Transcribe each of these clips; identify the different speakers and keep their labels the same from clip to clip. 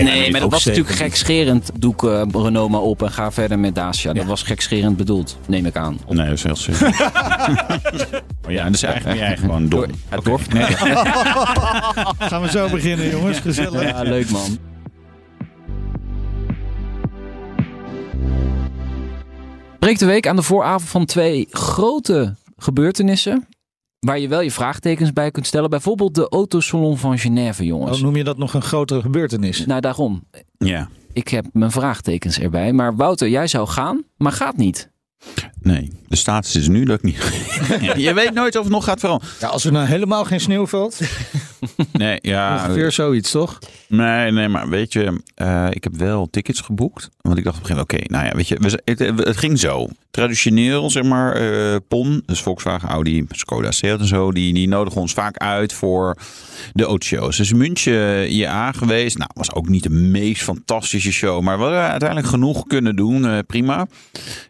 Speaker 1: Nee, maar dat was
Speaker 2: zeker
Speaker 1: natuurlijk gekscherend. Doe ik eh, Renault maar op en ga verder met Dacia. Dat was gekscherend bedoeld, neem ik aan.
Speaker 2: Nee, dat is heel simpel. maar ja, dus eigenlijk ben jij gewoon dom.
Speaker 1: Het
Speaker 2: Oké.
Speaker 1: dorp. Nee,
Speaker 3: Gaan we zo beginnen, jongens. Gezellig.
Speaker 1: ja, leuk man. Breek de week aan de vooravond van twee grote gebeurtenissen. Waar je wel je vraagtekens bij kunt stellen. Bijvoorbeeld de autosalon van Genève, jongens.
Speaker 3: Oh, noem je dat nog een grotere gebeurtenis?
Speaker 1: Nou, daarom.
Speaker 2: Ja,
Speaker 1: Ik heb mijn vraagtekens erbij. Maar Wouter, jij zou gaan, maar gaat niet.
Speaker 2: nee. De status is nu dat ik niet. je weet nooit of het nog gaat veranderen.
Speaker 3: Ja, als er nou helemaal geen sneeuw valt,
Speaker 2: Nee, ja.
Speaker 3: ongeveer zoiets, toch?
Speaker 2: Nee, nee, maar weet je, eh, ik heb wel tickets geboekt. Want ik dacht op een gegeven moment, oké, nou ja, weet je, we z- het, het ging zo. Traditioneel, zeg maar, eh, PON, dus Volkswagen, Audi, Skoda, Seat en zo, die, die nodigen ons vaak uit voor de autoshows. Dus München IA geweest, nou, was ook niet de meest fantastische show, maar we hadden uiteindelijk genoeg kunnen doen, eh, prima.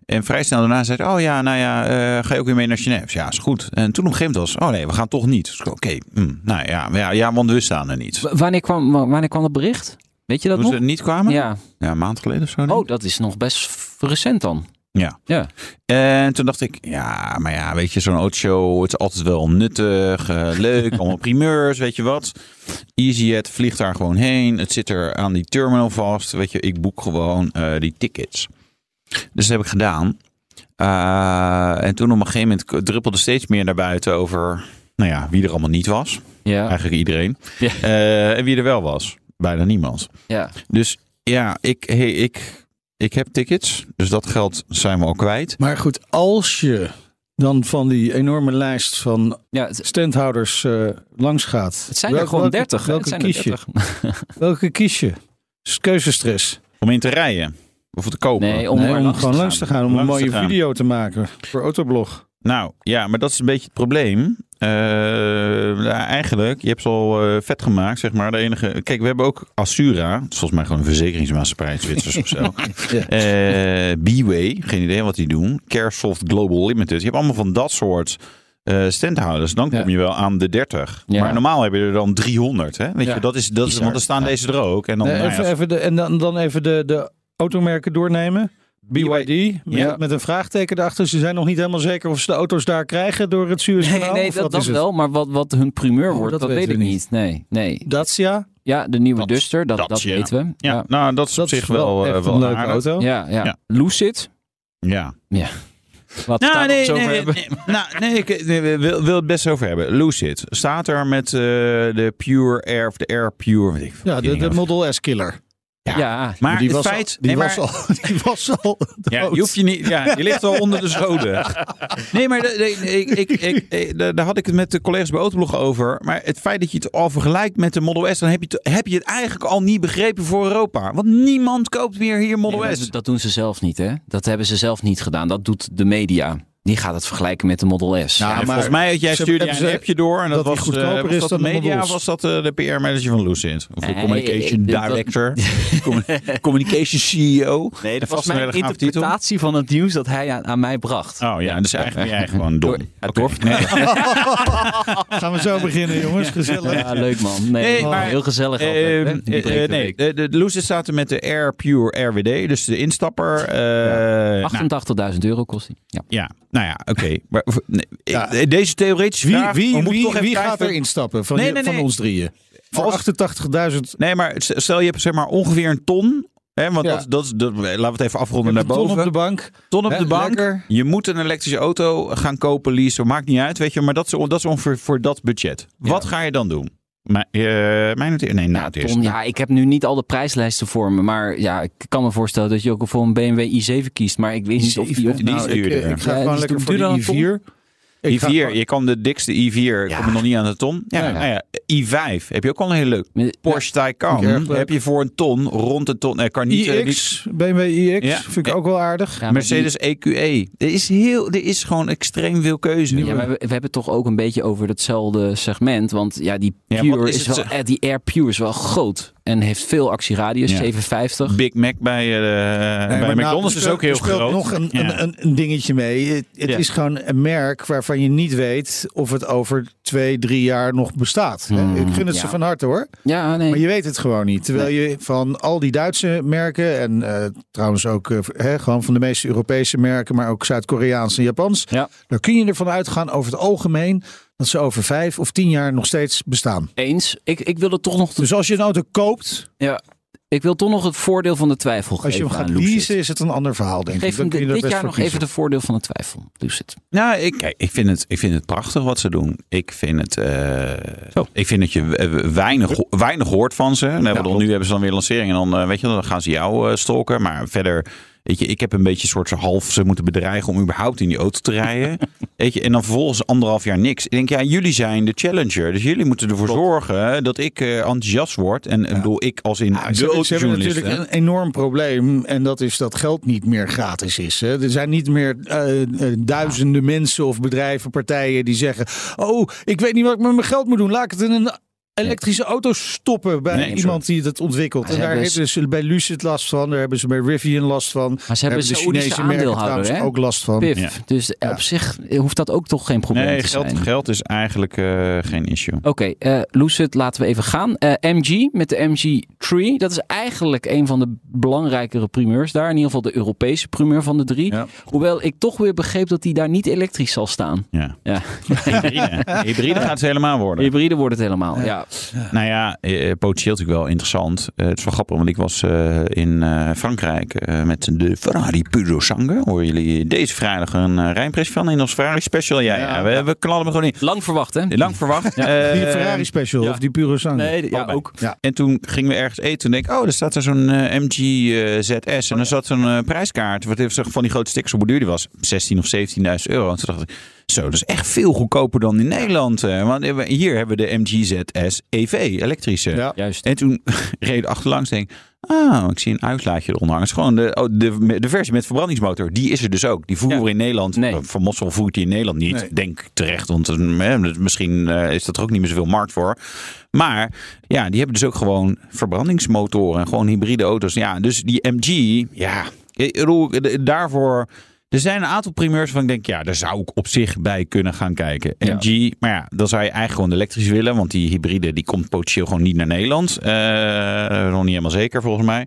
Speaker 2: En vrij snel daarna zei ze, oh ja, nou ja, eh, ga je ook weer mee naar Genève? Ja, is goed. En toen op een gegeven moment was, oh nee, we gaan toch niet. Dus ik, oké, hm, nou ja, ja, ja, want we staan er niet.
Speaker 1: W- wanneer, kwam, w- wanneer kwam dat bericht? Weet je dat
Speaker 2: Toen ze
Speaker 1: nog?
Speaker 2: er niet kwamen?
Speaker 1: Ja.
Speaker 2: Ja, een maand geleden of zo. denk ik.
Speaker 1: Oh, dat is nog best f- recent dan.
Speaker 2: Ja.
Speaker 1: Ja.
Speaker 2: En toen dacht ik, ja, maar ja, weet je, zo'n autoshow, het is altijd wel nuttig, eh, leuk, allemaal primeurs, weet je wat. EasyJet vliegt daar gewoon heen, het zit er aan die terminal vast, weet je, ik boek gewoon eh, die tickets. Dus dat heb ik gedaan. Eh, en toen op een gegeven moment druppelde steeds meer naar buiten over, nou ja, wie er allemaal niet was.
Speaker 1: Ja.
Speaker 2: Eigenlijk iedereen.
Speaker 1: Ja.
Speaker 2: Eh, en wie er wel was, bijna niemand.
Speaker 1: ja.
Speaker 2: Dus ja, ik, hey, ik, ik heb tickets. Dus dat geld zijn we al kwijt.
Speaker 3: Maar goed, als je dan van die enorme lijst van
Speaker 1: ja het,
Speaker 3: standhouders eh, langs gaat.
Speaker 1: het zijn
Speaker 3: welke-
Speaker 1: er gewoon
Speaker 3: welke-
Speaker 1: 30. hè?
Speaker 3: Welke,
Speaker 1: Het zijn er
Speaker 3: kies je?
Speaker 1: 30.
Speaker 3: Welke kies je? Is keuzestress.
Speaker 2: Om in te rijden. Of te kopen.
Speaker 1: Nee, om,
Speaker 3: Nee,
Speaker 1: er
Speaker 3: om
Speaker 1: langs
Speaker 3: gewoon
Speaker 1: te
Speaker 3: langs te gaan. Om
Speaker 2: Langs te
Speaker 3: een mooie
Speaker 2: gaan.
Speaker 3: video te maken voor Autoblog.
Speaker 2: Nou ja, maar dat is een beetje het probleem. Eh, nou, eigenlijk, je hebt ze al eh, vet gemaakt, zeg maar. De enige... Kijk, we hebben ook Assura. Dat is volgens mij gewoon een verzekeringsmaatschappij in Zwitsers of zo.
Speaker 3: Ja.
Speaker 2: Eh, B-Way, geen idee wat die doen. Caresoft Global Limited. Je hebt allemaal van dat soort eh, standhouders. Dan kom
Speaker 3: Ja.
Speaker 2: je wel aan de 30.
Speaker 1: Ja.
Speaker 2: Maar normaal heb je er dan 300. Hè? Weet
Speaker 3: Ja.
Speaker 2: je, dat is, dat is,
Speaker 1: Bizar.
Speaker 2: want dan staan
Speaker 1: Ja.
Speaker 2: deze er ook. En dan,
Speaker 3: Nee,
Speaker 2: nou ja,
Speaker 3: even, even de, en dan, dan even de, de automerken doornemen. BYD, met,
Speaker 2: Ja.
Speaker 3: met een vraagteken erachter. Ze zijn nog niet helemaal zeker of ze de auto's daar krijgen door het Suez
Speaker 1: Nee, nee dat, dat wel. Maar Nou, wat, wat hun primeur
Speaker 3: Oh,
Speaker 1: wordt, dat,
Speaker 3: dat
Speaker 1: weet
Speaker 3: weten
Speaker 1: ik
Speaker 3: we
Speaker 1: niet.
Speaker 3: niet.
Speaker 1: Nee, nee.
Speaker 3: Dacia,
Speaker 1: Ja, de nieuwe
Speaker 2: Dat-
Speaker 1: Duster, dat, dat,
Speaker 2: dat, ja.
Speaker 1: weten we.
Speaker 2: Ja,
Speaker 1: Ja,
Speaker 2: nou, dat is
Speaker 3: dat
Speaker 2: op zich wel, eh,
Speaker 3: echt
Speaker 2: wel
Speaker 3: een leuke
Speaker 2: aardig.
Speaker 3: auto.
Speaker 1: ja. ja.
Speaker 2: Ja.
Speaker 1: Lucid,
Speaker 2: Ja.
Speaker 1: wat we daar nog eens over hebben.
Speaker 2: nou, nee, ik nee, we- wil, wil het best over hebben. Lucid staat er met eh, de Pure Air of de Air Pure. weet ik veel.
Speaker 3: Ja, de, de Model S killer.
Speaker 1: Ja.
Speaker 2: Ja.
Speaker 1: Ja.
Speaker 2: maar
Speaker 3: die
Speaker 2: het
Speaker 3: was
Speaker 2: feit,
Speaker 3: al, die,
Speaker 2: nee, maar-
Speaker 3: was al, die was al
Speaker 2: Ja,
Speaker 3: dood.
Speaker 2: je hoeft je niet. Ja, je ligt al onder de scholen. Nee, maar de- de- ik, ik, ik, ik- daar daar had ik het met de collega's bij Autoblog over. Maar het feit dat je het al vergelijkt met de Model S, dan heb je het, heb je het eigenlijk al niet begrepen voor Europa. Want niemand koopt meer hier Model
Speaker 1: Nee,
Speaker 2: S.
Speaker 1: dat, dat doen ze zelf niet, hè? Dat hebben ze zelf niet gedaan. Dat doet de media. Die gaat het vergelijken met de Model S.
Speaker 2: Ja,
Speaker 3: Ja,
Speaker 2: en
Speaker 3: maar
Speaker 2: volgens mij, jij
Speaker 3: ze-
Speaker 2: stuurde
Speaker 3: hebben
Speaker 2: een
Speaker 3: ze-
Speaker 2: appje door. En dat,
Speaker 3: dat die
Speaker 2: was,
Speaker 3: goedkoper
Speaker 2: eh, was
Speaker 3: is
Speaker 2: dat
Speaker 3: dan
Speaker 2: de
Speaker 3: de
Speaker 2: media,
Speaker 3: Models?
Speaker 2: was dat eh, de PR-manager van Lucid? Of de
Speaker 1: Nee,
Speaker 2: Communication
Speaker 1: ik- dat-
Speaker 2: Director? Commu- communication CEO?
Speaker 1: nee,
Speaker 2: dat was een hele gaaf titel.
Speaker 1: van het nieuws dat hij aan, aan mij bracht.
Speaker 2: Oh ja, dus eigenlijk ben jij gewoon dom.
Speaker 1: Door- ja,
Speaker 2: Oké.
Speaker 1: dorp.
Speaker 2: Nee.
Speaker 3: Gaan we zo beginnen, jongens. Gezellig.
Speaker 1: Ja, leuk man. Nee,
Speaker 2: Nee,
Speaker 1: oh,
Speaker 2: maar-
Speaker 1: heel gezellig. altijd, hè?
Speaker 2: Ehm,
Speaker 1: Die
Speaker 2: eh,
Speaker 1: breekt de
Speaker 2: eh, nee,
Speaker 1: week.
Speaker 2: de, de Lucid staat er met de Air Pure RWD, dus de instapper. eh, nou,
Speaker 1: 88.000 euro kost hij. Ja.
Speaker 2: ja, nou ja, oké. Maar, nee, ik-
Speaker 3: Ja.
Speaker 2: Deze theoretische
Speaker 3: Wie,
Speaker 2: vraag, we
Speaker 3: wie,
Speaker 2: moeten
Speaker 3: wie,
Speaker 2: toch even
Speaker 3: wie
Speaker 2: kijken-
Speaker 3: gaat er instappen van,
Speaker 2: Nee,
Speaker 3: je-
Speaker 2: nee,
Speaker 3: van
Speaker 2: nee.
Speaker 3: ons drieën? Voor
Speaker 2: Als-
Speaker 3: 88.000.
Speaker 2: Nee, maar s- stel je hebt zeg maar ongeveer een ton. Hè, want
Speaker 3: Ja.
Speaker 2: dat, dat, is dat, laten we het even afronden
Speaker 3: Een
Speaker 2: naar
Speaker 3: ton
Speaker 2: boven.
Speaker 3: op de bank.
Speaker 2: ton op
Speaker 3: Hè,
Speaker 2: de bank.
Speaker 3: lekker.
Speaker 2: Je moet een elektrische auto gaan kopen, leasen. Maakt niet uit, weet je. Maar dat is, on- dat is ongeveer voor dat budget. Wat ga je dan doen? Mijn, eh mijn het, nee, na
Speaker 1: Ja,
Speaker 2: het
Speaker 1: Tom,
Speaker 2: eerst.
Speaker 1: ja, ik heb nu niet al de prijslijsten voor me. Maar ja, ik kan me voorstellen dat je ook voor een BMW i7 kiest. Maar ik weet niet of die... Of,
Speaker 2: Die is
Speaker 3: Nou, ik,
Speaker 2: duurder.
Speaker 3: ik ga
Speaker 1: Ja, die
Speaker 3: gewoon
Speaker 1: is
Speaker 3: lekker voor
Speaker 1: duurder
Speaker 3: de i4. Ik
Speaker 2: i4,
Speaker 3: ga gewoon-
Speaker 2: je kan de dikste i4, kom je nog niet aan de ton. Ja,
Speaker 1: Nee.
Speaker 2: nou ja, i5 heb je ook al een heel leuk.
Speaker 1: Met-
Speaker 2: Porsche Taycan
Speaker 3: Vind ik eh, erg leuk.
Speaker 2: heb je voor een ton, rond de ton. Nee, kan niet, eh, niet-
Speaker 3: iX, BMW iX,
Speaker 2: Ja.
Speaker 3: vind ik ook wel aardig.
Speaker 1: Ja, maar
Speaker 2: Mercedes EQE. Er is, heel, er is gewoon extreem veel keuze.
Speaker 1: die- ja, maar we, hebben- we hebben het toch ook een beetje over hetzelfde segment. Want ja, die,
Speaker 2: Ja,
Speaker 1: Pure
Speaker 2: wat is
Speaker 1: is
Speaker 2: het
Speaker 1: wel, eh, die Air Pure is wel groot. En heeft veel actieradius,
Speaker 2: Ja.
Speaker 1: 750.
Speaker 2: Big Mac bij, eh, bij
Speaker 3: maar nou,
Speaker 2: McDonald's
Speaker 3: er
Speaker 2: is
Speaker 3: speelt-
Speaker 2: ook heel
Speaker 3: er speelt
Speaker 2: groot.
Speaker 3: nog een,
Speaker 2: Ja.
Speaker 3: een, een, een dingetje mee. Het, het
Speaker 2: Ja.
Speaker 3: is gewoon een merk waarvan je niet weet of het over twee, drie jaar nog bestaat. hè.
Speaker 1: Hmm,
Speaker 3: ik gun het
Speaker 1: ja.
Speaker 3: ze van harte hoor.
Speaker 1: Ja, nee.
Speaker 3: Maar je weet het gewoon niet. Terwijl je van al die Duitse merken en eh, trouwens ook eh, hè, gewoon van de meeste Europese merken, maar ook Zuid-Koreaans en Japans.
Speaker 1: Ja.
Speaker 3: Dan kun je ervan uitgaan over het algemeen dat ze over vijf of tien jaar nog steeds bestaan.
Speaker 1: Eens. Ik, ik wil het toch nog...
Speaker 3: Dus als je een auto koopt,
Speaker 1: Ja, ik wil toch nog het voordeel van de twijfel geven
Speaker 3: als je hem gaat
Speaker 1: aan Lucid.
Speaker 3: leasen, is het een ander verhaal denk ik.
Speaker 1: Geef hem
Speaker 3: Dan kun je
Speaker 1: dit,
Speaker 3: er
Speaker 1: dit
Speaker 3: best
Speaker 1: jaar nog
Speaker 3: voor
Speaker 1: even
Speaker 3: kiezen.
Speaker 1: de voordeel van de twijfel, Lucid.
Speaker 2: Nou, ik, kijk, ik, vind het, ik vind het prachtig wat ze doen. Ik vind het. eh, ik vind dat je eh, weinig, ho- weinig hoort van ze. Dan hebben we dan, nu hebben ze dan weer lancering. En dan, eh, weet je, dan gaan ze jou eh, stalken. Maar verder. Weet je, ik heb een beetje een soort van half ze moeten bedreigen om überhaupt in die auto te rijden. weet je, en dan vervolgens anderhalf jaar niks. Ik denk, ja, jullie zijn de challenger. Dus jullie moeten ervoor zorgen dat ik eh, enthousiast word. En ik bedoel, ik als in
Speaker 3: Ja,
Speaker 2: de
Speaker 3: ze, ze hebben
Speaker 2: autojournalist.
Speaker 3: natuurlijk
Speaker 2: hè.
Speaker 3: een enorm probleem. En dat is dat geld niet meer gratis is. Hè. Er zijn niet meer eh, eh, duizenden mensen of bedrijven, partijen die zeggen... Oh, ik weet niet wat ik met mijn geld moet doen. Laat ik het in een elektrische auto stoppen bij
Speaker 2: Nee,
Speaker 3: iemand die dat ontwikkelt.
Speaker 1: Maar
Speaker 3: En
Speaker 1: ze
Speaker 3: daar
Speaker 1: hebben
Speaker 3: hebben ze bij Lucid last van. Daar hebben ze bij Rivian last van.
Speaker 1: Maar ze hebben
Speaker 3: Daar
Speaker 1: een
Speaker 3: hebben de
Speaker 1: Saoedische
Speaker 3: Chinese merken
Speaker 1: aandeelhouder,
Speaker 3: trouwens
Speaker 1: hè?
Speaker 3: ook last van.
Speaker 1: Pif.
Speaker 2: Ja.
Speaker 1: Dus
Speaker 3: Ja.
Speaker 1: op zich hoeft dat ook toch geen probleem
Speaker 2: Nee,
Speaker 1: te
Speaker 2: geld,
Speaker 1: zijn.
Speaker 2: geld is eigenlijk eh, geen issue.
Speaker 1: Oké, eh, Lucid, laten we even gaan. Eh, MG met de MG3. Dat is eigenlijk een van de belangrijkere primeurs daar. In ieder geval de Europese primeur van de drie.
Speaker 2: Ja.
Speaker 1: Hoewel ik toch weer begreep dat die daar niet elektrisch zal staan.
Speaker 2: Ja.
Speaker 1: Ja.
Speaker 2: Hybride. Hybride gaat het helemaal worden.
Speaker 1: Hybride wordt het helemaal. Ja.
Speaker 2: Nou ja, eh, potentieel natuurlijk wel interessant. Eh, het is wel grappig, want ik was eh, in eh, Frankrijk eh, met de Ferrari Puro Sangue. Horen jullie deze vrijdag een eh, rijpres van in ons Ferrari Special? Ja, ja, we, we knallen hem gewoon in.
Speaker 1: Lang verwacht, hè?
Speaker 2: Lang verwacht.
Speaker 3: Die
Speaker 2: Eh,
Speaker 3: Ferrari special
Speaker 1: ja.
Speaker 3: of die Pure Sang.
Speaker 1: Nee, ja,
Speaker 2: Allebei.
Speaker 1: ook.
Speaker 2: En toen gingen we ergens eten. Toen denk ik, oh, daar staat er zo'n eh, MG eh, ZS. En er zat zo'n eh, prijskaart. Wat heeft ze van die grote stickers op hoe duur die was? 16 of 17.000 euro. En toen dacht ik, zo, dat is echt veel goedkoper dan in Nederland. eh. want eh, hier hebben we de MG ZS EV, E elektrische.
Speaker 3: Ja.
Speaker 1: Juist.
Speaker 2: En toen reed ik achterlangs en denk ik, ah, ik zie een uitlaatje eronder hangen. Het is gewoon de, oh, de, de versie met verbrandingsmotor. Die is er dus ook. Die voeren we in Nederland.
Speaker 1: Nee.
Speaker 2: Eh, Van Mossel voert die in Nederland niet.
Speaker 3: Nee.
Speaker 2: Denk terecht, want eh, misschien eh, is dat er ook niet meer zoveel markt voor. Maar ja, die hebben dus ook gewoon verbrandingsmotoren. Gewoon hybride auto's. Ja, dus die MG, ja, ik bedoel, de- daarvoor... Er zijn een aantal primeurs van ik denk, ja, daar zou ik op zich bij kunnen gaan kijken.
Speaker 1: Ja.
Speaker 2: MG, maar ja, dan zou je eigenlijk gewoon elektrisch willen, want die hybride die komt potentieel gewoon niet naar Nederland. Eh, nog niet helemaal zeker volgens mij.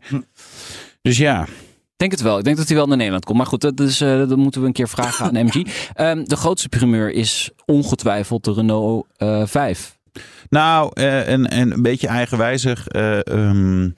Speaker 2: Dus ja,
Speaker 1: Ik denk het wel. Ik denk dat hij wel naar Nederland komt. Maar goed, dat, is, eh, dat moeten we een keer vragen aan MG. Ehm, de grootste primeur is ongetwijfeld de Renault eh 5.
Speaker 2: nou, eh, en, en een beetje eigenwijzig. eh ehm,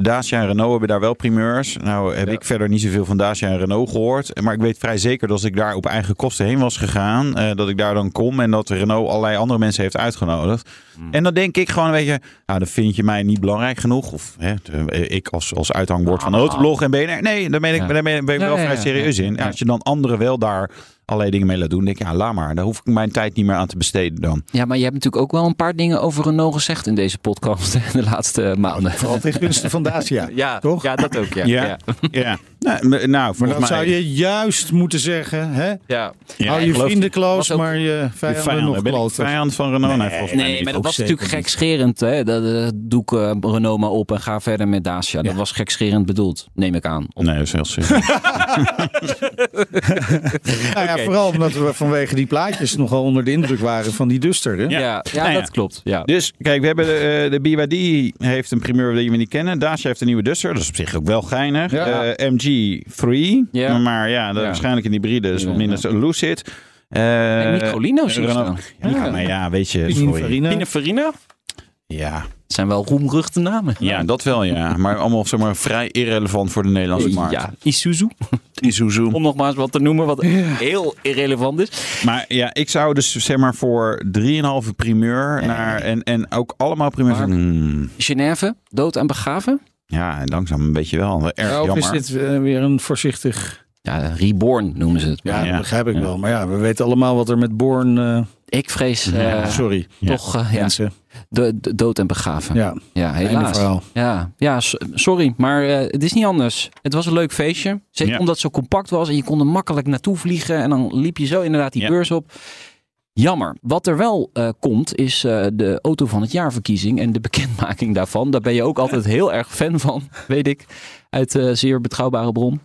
Speaker 2: Dacia en Renault hebben daar wel primeurs. Nou heb ik verder niet zoveel van Dacia en Renault gehoord. Maar ik weet vrij zeker dat als ik daar op eigen kosten heen was gegaan, eh, dat ik daar dan kom en dat Renault allerlei andere mensen heeft uitgenodigd. En dan denk ik gewoon een beetje, nou dan vind je mij niet belangrijk genoeg. Of hè, de- eh, ik als, als uithangbord van Autoblog en BNR. Nee, daar ben ik,
Speaker 1: Ja.
Speaker 2: daar ben, ik- ben ik
Speaker 1: Ja,
Speaker 2: wel
Speaker 1: ja,
Speaker 2: vrij
Speaker 1: ja,
Speaker 2: serieus
Speaker 1: ja.
Speaker 2: in. Ja,
Speaker 1: Ja.
Speaker 2: als je dan anderen wel daar allerlei dingen mee laat doen, denk ik, ja laat maar. Daar hoef ik mijn tijd niet meer aan te besteden dan.
Speaker 1: Ja, maar je hebt natuurlijk ook wel een paar dingen over Renault gezegd in deze podcast hè, de laatste maanden.
Speaker 3: Vooral ten gunste van Dacia. toch?
Speaker 1: ja dat ook. Ja.
Speaker 2: Ja, ja. Nou, m- nou,
Speaker 3: Maar
Speaker 2: volgens
Speaker 3: dan zou
Speaker 2: mij...
Speaker 3: je juist moeten zeggen, hè?
Speaker 1: Ja.
Speaker 2: Ja,
Speaker 3: Hou
Speaker 2: ik
Speaker 3: je
Speaker 2: geloof-
Speaker 3: vrienden kloos,
Speaker 1: was ook-
Speaker 3: maar je
Speaker 2: De
Speaker 3: vijanden,
Speaker 2: vijand,
Speaker 3: nog
Speaker 2: ben ik
Speaker 3: kloter.
Speaker 2: vijand van Renault. Nee, volgens mij
Speaker 1: Nee,
Speaker 2: niet.
Speaker 1: maar dat
Speaker 3: ook
Speaker 1: was
Speaker 3: zeker
Speaker 1: natuurlijk gekscherend. Hè? Dat, eh, doe ik eh, Renault maar op en ga verder met Dacia. Dat
Speaker 3: Ja.
Speaker 1: was gekscherend bedoeld, neem ik aan.
Speaker 2: Nee, dat is heel serieus.
Speaker 3: Nou ja, vooral omdat we vanwege die plaatjes nogal onder de indruk waren van die duster. Hè?
Speaker 1: Ja,
Speaker 2: Ja.
Speaker 1: ja,
Speaker 2: Nou ja.
Speaker 1: dat klopt. Ja.
Speaker 2: dus kijk, we hebben de, eh, de BYD heeft een primeur die we niet kennen. Dacia heeft een nieuwe Duster. Dat is op zich ook wel geinig.
Speaker 3: Ja.
Speaker 2: Eh, MG3.
Speaker 1: Ja.
Speaker 2: Maar ja, dat
Speaker 1: Ja. waarschijnlijk
Speaker 2: waarschijnlijk een hybride. Dus
Speaker 1: Ja,
Speaker 2: wat minder zo Lucid. Eh,
Speaker 1: en Nicolino zie ik
Speaker 2: Renault-
Speaker 1: staan.
Speaker 2: Ja, maar ja, weet je. Sorry.
Speaker 3: Pininfarina.
Speaker 1: Pininfarina?
Speaker 2: Ja,
Speaker 1: Dat zijn wel roemruchte namen.
Speaker 2: ja, dat wel ja. Maar allemaal zeg maar, vrij irrelevant voor de Nederlandse markt.
Speaker 1: Ja, Isuzu.
Speaker 2: Isuzu.
Speaker 1: Om nog maar eens wat te noemen wat heel irrelevant is.
Speaker 2: Maar ja, ik zou dus zeg maar voor 3,5 primeur naar, en, en ook allemaal primeur.
Speaker 1: Mark.
Speaker 2: Hmm,
Speaker 1: Genève, dood en begraven.
Speaker 2: ja, en langzaam een beetje wel. Erg
Speaker 3: Ja, of
Speaker 2: jammer.
Speaker 3: is dit eh, weer een voorzichtig...
Speaker 1: Ja, Reborn noemen ze het.
Speaker 3: Ja,
Speaker 2: Ja.
Speaker 3: dat begrijp ik
Speaker 2: Ja.
Speaker 3: wel. Maar ja, we weten allemaal wat er met Born... eh,
Speaker 1: Ik vrees eh,
Speaker 3: sorry,
Speaker 2: Ja.
Speaker 1: toch eh, ja,
Speaker 3: mensen.
Speaker 1: de, de dood en begraven. Ja,
Speaker 3: Ja, einde
Speaker 1: helaas.
Speaker 3: verhaal.
Speaker 1: Ja, ja so- sorry, maar eh, het is niet anders. Het was een leuk feestje. Zeker
Speaker 2: Ja.
Speaker 1: omdat het zo compact was en je kon er makkelijk naartoe vliegen. En dan liep je zo inderdaad die
Speaker 2: Ja.
Speaker 1: beurs op. Jammer. Wat er wel eh, komt is eh, de auto van het jaarverkiezing en de bekendmaking daarvan. Daar ben je ook altijd heel erg fan van, weet ik. Uit eh, zeer betrouwbare bron.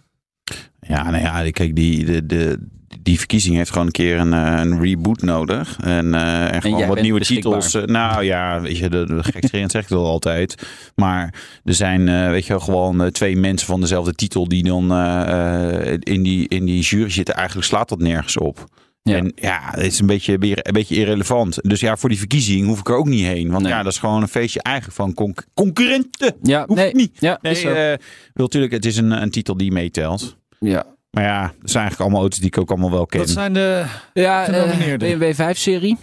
Speaker 2: Ja, nou ja, kijk, die, de, de, die verkiezing heeft gewoon een keer een, eh, een reboot nodig. En, eh, en gewoon
Speaker 1: jij
Speaker 2: wat
Speaker 1: bent
Speaker 2: nieuwe
Speaker 1: beschikbaar.
Speaker 2: titels. Eh, nou ja, weet je, de, de gekscherend zeg ik dat altijd. Maar er zijn, eh, weet je wel, gewoon eh, twee mensen van dezelfde titel die dan eh, eh, in, die, in die jury zitten. Eigenlijk slaat dat nergens op.
Speaker 1: Ja.
Speaker 2: En ja, het is een beetje, weer- een beetje irrelevant. Dus ja, voor die verkiezing hoef ik er ook niet heen. Want
Speaker 1: Nee.
Speaker 2: ja, dat is gewoon een feestje eigenlijk van conc- concurrenten.
Speaker 1: Ja,
Speaker 2: Hoeft
Speaker 1: nee,
Speaker 2: niet.
Speaker 1: ja,
Speaker 2: Nee,
Speaker 1: is zo.
Speaker 2: eh, wil natuurlijk, het is een, een titel die meetelt.
Speaker 1: ja.
Speaker 2: Maar ja, dat zijn eigenlijk allemaal auto's die ik ook allemaal wel ken.
Speaker 3: Dat zijn de
Speaker 1: Ja, eh
Speaker 3: Genomineerden.
Speaker 1: BMW 5-serie.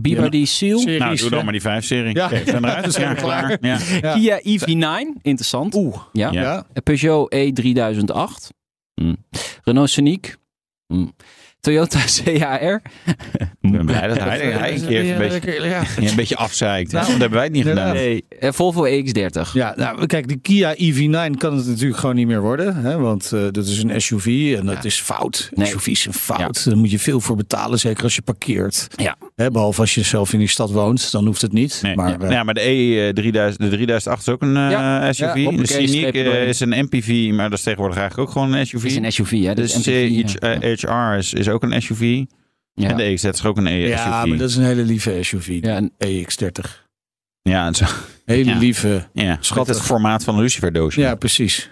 Speaker 1: Biba
Speaker 3: Ja.
Speaker 1: die Seal.
Speaker 3: series.
Speaker 2: nou, doe
Speaker 3: hè?
Speaker 2: dan maar die vijf serie.
Speaker 3: Ja.
Speaker 2: Ja, ik ben eruit.
Speaker 3: Zijn
Speaker 2: ja,
Speaker 3: we
Speaker 2: klaar. Ja.
Speaker 3: Ja.
Speaker 1: Kia EV9. Interessant.
Speaker 3: Oeh,
Speaker 1: Ja.
Speaker 3: ja.
Speaker 2: Ja.
Speaker 1: Eh, Peugeot E3008. Hm. Renault Scenic. Hm. Toyota CHR.
Speaker 2: Ik ben blij dat hij, hij een keer een beetje,
Speaker 3: Ja.
Speaker 2: ja, een beetje afzeikt.
Speaker 3: Nou,
Speaker 2: Want dat hebben wij het niet gedaan.
Speaker 3: inderdaad.
Speaker 1: Nee. En Eh, Volvo E EX30.
Speaker 3: Ja, nou kijk, de Kia EV9 kan het natuurlijk gewoon niet meer worden. Hè, want eh, dat is een SUV en dat
Speaker 1: Ja.
Speaker 3: is fout.
Speaker 1: Nee.
Speaker 3: SUV is een fout. Daar moet je veel voor betalen, zeker als je parkeert.
Speaker 1: Ja.
Speaker 3: Hè, behalve als je zelf in die stad woont, dan hoeft het niet.
Speaker 2: Nee,
Speaker 3: maar
Speaker 2: ja.
Speaker 3: eh,
Speaker 2: Nou ja, maar de, e, eh, 3000, de 3008 is ook een eh,
Speaker 1: Ja.
Speaker 2: SUV.
Speaker 1: Ja, hoppakee,
Speaker 2: de Scenic
Speaker 1: streep
Speaker 2: eh,
Speaker 1: erdoorheen.
Speaker 2: is een MPV, maar dat is tegenwoordig eigenlijk ook gewoon een SUV.
Speaker 1: Het is een SUV, hè?
Speaker 2: de
Speaker 1: Dus MPV, ja.
Speaker 3: eh,
Speaker 2: CHR eh, is, is ook een SUV.
Speaker 1: ja.
Speaker 2: En de EXZ is ook een e
Speaker 3: ja,
Speaker 2: SUV.
Speaker 3: maar dat is een hele lieve SUV.
Speaker 1: Ja, en-
Speaker 3: EX30.
Speaker 2: Ja, het is-
Speaker 3: E Hele
Speaker 2: Ja.
Speaker 3: lieve.
Speaker 2: ja. Schat
Speaker 3: Schattig.
Speaker 2: het formaat van een luciferdoosje.
Speaker 3: Ja, precies.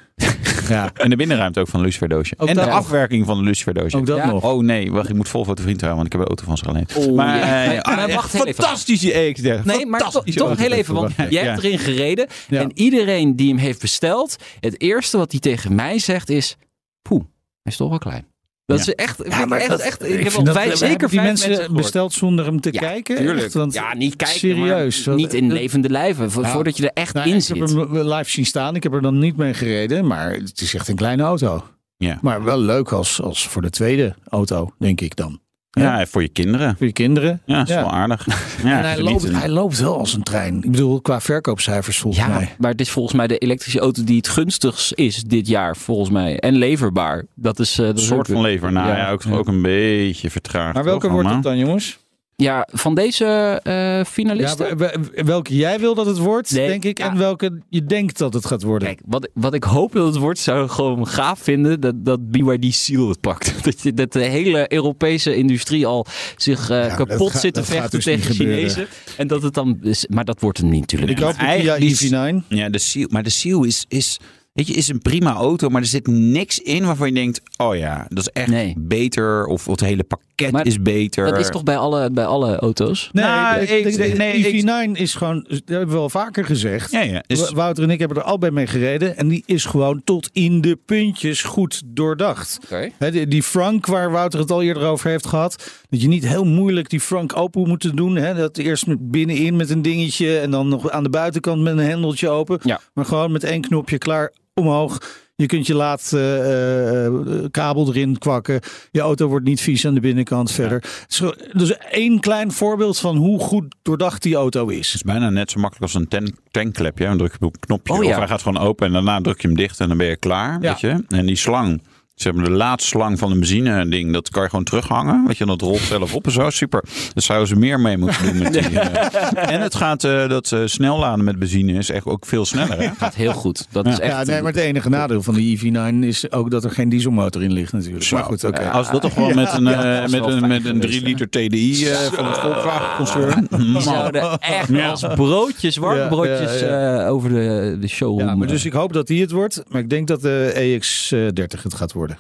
Speaker 3: ja,
Speaker 2: En de binnenruimte ook van een luciferdoosje.
Speaker 3: Ook
Speaker 2: En de
Speaker 3: dat nog.
Speaker 2: afwerking van een luciferdoosje.
Speaker 3: ook dat
Speaker 1: Ja.
Speaker 3: nog.
Speaker 2: Oh nee, wacht, ik moet vol voor de vriend houden, want ik heb een auto van ze geleend.
Speaker 1: Oh,
Speaker 2: maar
Speaker 1: ja.
Speaker 2: eh,
Speaker 1: Maar-
Speaker 2: ah,
Speaker 1: maar
Speaker 2: echt
Speaker 1: wacht heel even.
Speaker 2: fantastisch die EX30.
Speaker 1: Nee, maar to-
Speaker 2: Fantastisch.
Speaker 1: toch heel even, want jij
Speaker 2: Ja.
Speaker 1: hebt erin gereden.
Speaker 3: Ja.
Speaker 1: En iedereen die hem heeft besteld, het eerste wat hij tegen mij zegt is... Poeh, hij is toch wel klein. Dat
Speaker 2: Ja.
Speaker 1: is echt... ik
Speaker 3: Ja,
Speaker 1: vind
Speaker 3: maar
Speaker 1: echt,
Speaker 3: dat-
Speaker 1: echt,
Speaker 3: ik
Speaker 1: ik heb
Speaker 3: vind
Speaker 1: al
Speaker 3: dat-
Speaker 1: vijf,
Speaker 3: hebben
Speaker 1: zeker
Speaker 3: die
Speaker 1: vijf
Speaker 3: mensen,
Speaker 1: gehoord.
Speaker 3: besteld zonder hem te kijken.
Speaker 1: tuurlijk.
Speaker 3: Echt? Want-
Speaker 1: ja, niet kijken,
Speaker 3: serieus,
Speaker 1: maar
Speaker 3: want-
Speaker 1: niet in levende lijven, vo-
Speaker 3: Ja.
Speaker 1: voordat je er echt
Speaker 3: Nou,
Speaker 1: in
Speaker 3: ik heb
Speaker 1: zit.
Speaker 3: hem live zien staan. Ik heb er dan niet mee gereden, maar het is echt een kleine auto.
Speaker 2: Ja.
Speaker 3: Maar wel leuk als, als voor de tweede auto, denk ik dan.
Speaker 2: Ja, voor je kinderen.
Speaker 3: Voor je kinderen.
Speaker 2: Ja, dat is
Speaker 3: Ja.
Speaker 2: wel aardig. Ja,
Speaker 3: en hij
Speaker 2: genieten.
Speaker 3: loopt, hij loopt wel als een trein. Ik bedoel, qua verkoopcijfers volgens
Speaker 1: Ja,
Speaker 3: mij.
Speaker 1: maar het is volgens mij de elektrische auto die het gunstigst is dit jaar, volgens mij. En leverbaar. Dat is eh, dat
Speaker 2: Een
Speaker 1: is
Speaker 2: soort
Speaker 1: ook-
Speaker 2: van lever. Nou ja, ook, ook een beetje vertraagd. toch, allemaal?
Speaker 3: dan, jongens?
Speaker 1: Ja, van deze eh,
Speaker 3: Ja,
Speaker 1: finalisten.
Speaker 3: we- we- welke jij wil dat het wordt,
Speaker 1: Nee,
Speaker 3: denk ik.
Speaker 1: ja.
Speaker 3: En welke je denkt dat het gaat worden.
Speaker 1: Kijk, wat, wat ik hoop dat het wordt, zou ik gewoon gaaf vinden dat, dat BYD Seal het pakt. Dat, je, dat de hele Europese industrie al zich eh,
Speaker 3: maar dat
Speaker 1: kapot
Speaker 3: gaat-
Speaker 1: zit te
Speaker 3: dat gaat
Speaker 1: vechten
Speaker 3: dus
Speaker 1: tegen
Speaker 3: niet gebeuren.
Speaker 1: Chinezen. En dat het dan. is- Maar dat wordt het niet natuurlijk.
Speaker 3: ik
Speaker 2: maar
Speaker 3: hoop de Kia
Speaker 2: eigenlijk is-
Speaker 3: EV9.
Speaker 2: Ja, de Seal. Maar de Seal is, is, weet je, is een prima auto, maar er zit niks in waarvan je denkt, oh ja, dat is echt
Speaker 1: Nee.
Speaker 2: beter. Of het hele pakket
Speaker 1: Maar
Speaker 2: is beter.
Speaker 1: Dat is toch bij alle, bij alle auto's?
Speaker 3: Nee,
Speaker 2: Nou,
Speaker 3: ik,
Speaker 2: ik-
Speaker 3: denk-
Speaker 2: nee, nee, ik-
Speaker 3: EV9 is gewoon, dat hebben we wel vaker gezegd.
Speaker 2: Ja, ja. Is,
Speaker 3: W- Wouter en ik hebben er allebei mee gereden. En die is gewoon tot in de puntjes goed doordacht.
Speaker 1: Oké.
Speaker 3: Hè, die, die Frank, waar Wouter het al eerder over heeft gehad. Dat je niet heel moeilijk die Frank open moet doen. Hè? Dat eerst met binnenin met een dingetje. En dan nog aan de buitenkant met een hendeltje open.
Speaker 1: Ja.
Speaker 3: Maar gewoon met één knopje klaar omhoog. Je kunt je laat eh, eh, kabel erin kwakken. Je auto wordt niet vies aan de binnenkant verder. Zo- Dus één klein voorbeeld van hoe goed doordacht die auto is.
Speaker 2: Het is bijna net zo makkelijk als een ten- tankklep. Ja? Dan druk je op een knopje
Speaker 1: Oh,
Speaker 2: of
Speaker 1: ja.
Speaker 2: hij gaat gewoon open en daarna druk je hem dicht en dan ben je klaar.
Speaker 3: Ja.
Speaker 2: Weet je? En die slang, zeg maar de laatste slang van een benzine ding, dat kan je gewoon terughangen. Weet je, en dat rolt zelf op en zo. Super. Daar zouden ze meer mee moeten doen. Met die, eh. En het gaat, eh, dat eh, snelladen met benzine is echt ook veel sneller. Hè?
Speaker 1: Gaat heel goed. Dat is echt.
Speaker 3: Ja, nee, maar het enige nadeel van de EV9 is ook dat er geen dieselmotor in ligt natuurlijk. Maar goed, oké.
Speaker 2: Ja, Nou, Als dat toch wel met een, eh, met een, met een 3 liter TDI eh, van het Volkswagen-concern.
Speaker 1: Die zouden echt als broodjes, warme
Speaker 3: Ja,
Speaker 1: broodjes,
Speaker 3: ja,
Speaker 1: eh, over de, de showroom.
Speaker 3: Ja, maar
Speaker 1: eh.
Speaker 3: dus ik hoop dat die het wordt. Maar ik denk dat de E EX30 het gaat worden.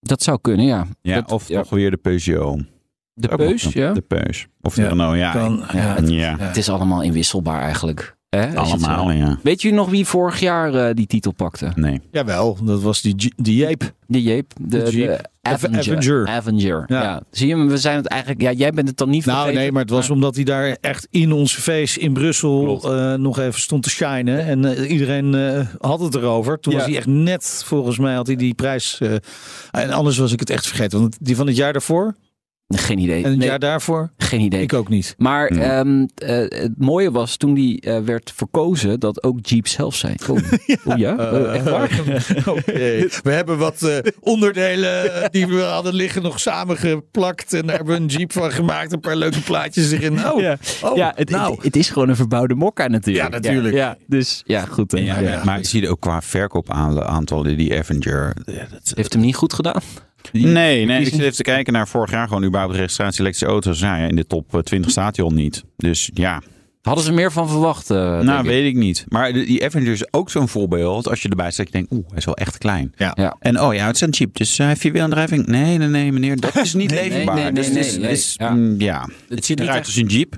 Speaker 1: Dat zou kunnen, ja.
Speaker 2: Ja,
Speaker 1: Dat-
Speaker 2: of
Speaker 1: ja.
Speaker 2: toch weer de Peugeot.
Speaker 1: De
Speaker 2: Ook nog
Speaker 1: Peus,
Speaker 2: een-
Speaker 1: ja.
Speaker 2: De Peus. Of de
Speaker 3: Ja.
Speaker 2: Renault, ja.
Speaker 3: Dan, ja,
Speaker 2: ja.
Speaker 1: Het is allemaal inwisselbaar eigenlijk. Hè? Als je het zo-
Speaker 2: Allemaal, ja.
Speaker 1: Weet je nog wie vorig jaar eh, die titel pakte?
Speaker 2: Nee.
Speaker 3: Jawel, dat was die, J- die Jeep.
Speaker 1: De Jeep. De,
Speaker 3: De Jeep.
Speaker 1: de Avenger.
Speaker 3: Avenger.
Speaker 1: Avenger, Ja.
Speaker 3: Ja.
Speaker 1: Zie je, we zijn het eigenlijk... Ja, jij bent het dan niet
Speaker 3: Nou
Speaker 1: vergeten.
Speaker 3: nee, maar het was omdat hij daar echt in onze feest in Brussel eh, nog even stond te shinen. En eh, iedereen eh, had het erover. Toen
Speaker 1: Ja.
Speaker 3: was hij echt net, volgens mij had hij die prijs. eh, en anders was ik het echt vergeten. Want die van het jaar daarvoor
Speaker 1: Geen idee.
Speaker 3: en het
Speaker 1: Nee,
Speaker 3: jaar daarvoor,
Speaker 1: Geen idee.
Speaker 3: ik ook niet.
Speaker 1: Maar
Speaker 2: Hmm.
Speaker 1: ehm, eh, het mooie was toen die eh, werd verkozen dat ook Jeep zelf zei. Oh ja, oh, ja?
Speaker 3: Eh,
Speaker 1: Oh, echt waar?
Speaker 3: We hebben wat eh, onderdelen eh, die we hadden liggen nog samengeplakt. En daar hebben we een jeep van gemaakt. Een paar leuke plaatjes erin. Oh,
Speaker 1: ja,
Speaker 3: oh,
Speaker 1: ja het,
Speaker 3: nou.
Speaker 1: het, het is gewoon een verbouwde mokka natuurlijk.
Speaker 3: Ja, natuurlijk.
Speaker 1: Ja, ja, dus ja, goed. eh,
Speaker 2: Ja,
Speaker 1: ja.
Speaker 2: Maar ik zie je ook qua verkoopaantallen die Avenger. ja, dat-
Speaker 1: Heeft hem niet goed gedaan.
Speaker 2: nee, nee, ik
Speaker 1: kies-
Speaker 2: zit even te kijken naar vorig jaar gewoon überhaupt registratie elektrische auto's. Nou ja, in de top eh, 20
Speaker 1: Hm.
Speaker 2: staat hij al niet. Dus ja,
Speaker 1: Hadden ze meer van verwacht. eh, denk
Speaker 2: nou
Speaker 1: ik.
Speaker 2: weet ik niet. Maar de- die Avenger is ook zo'n voorbeeld. Als je erbij staat, je denkt, oeh, hij is wel echt klein.
Speaker 3: Ja.
Speaker 1: Ja.
Speaker 2: En oh ja, het is een Jeep, dus eh heeft je wielaandrijving? Nee, nee, nee, meneer, dat is niet
Speaker 1: Nee, nee,
Speaker 2: leverbaar.
Speaker 1: nee,
Speaker 2: dus
Speaker 1: nee,
Speaker 2: het is-
Speaker 1: nee,
Speaker 2: het is,
Speaker 1: nee.
Speaker 2: mm, ja.
Speaker 1: Het
Speaker 2: Het
Speaker 1: ziet
Speaker 2: ziet
Speaker 1: niet
Speaker 2: eruit
Speaker 1: echt-
Speaker 2: als een Jeep.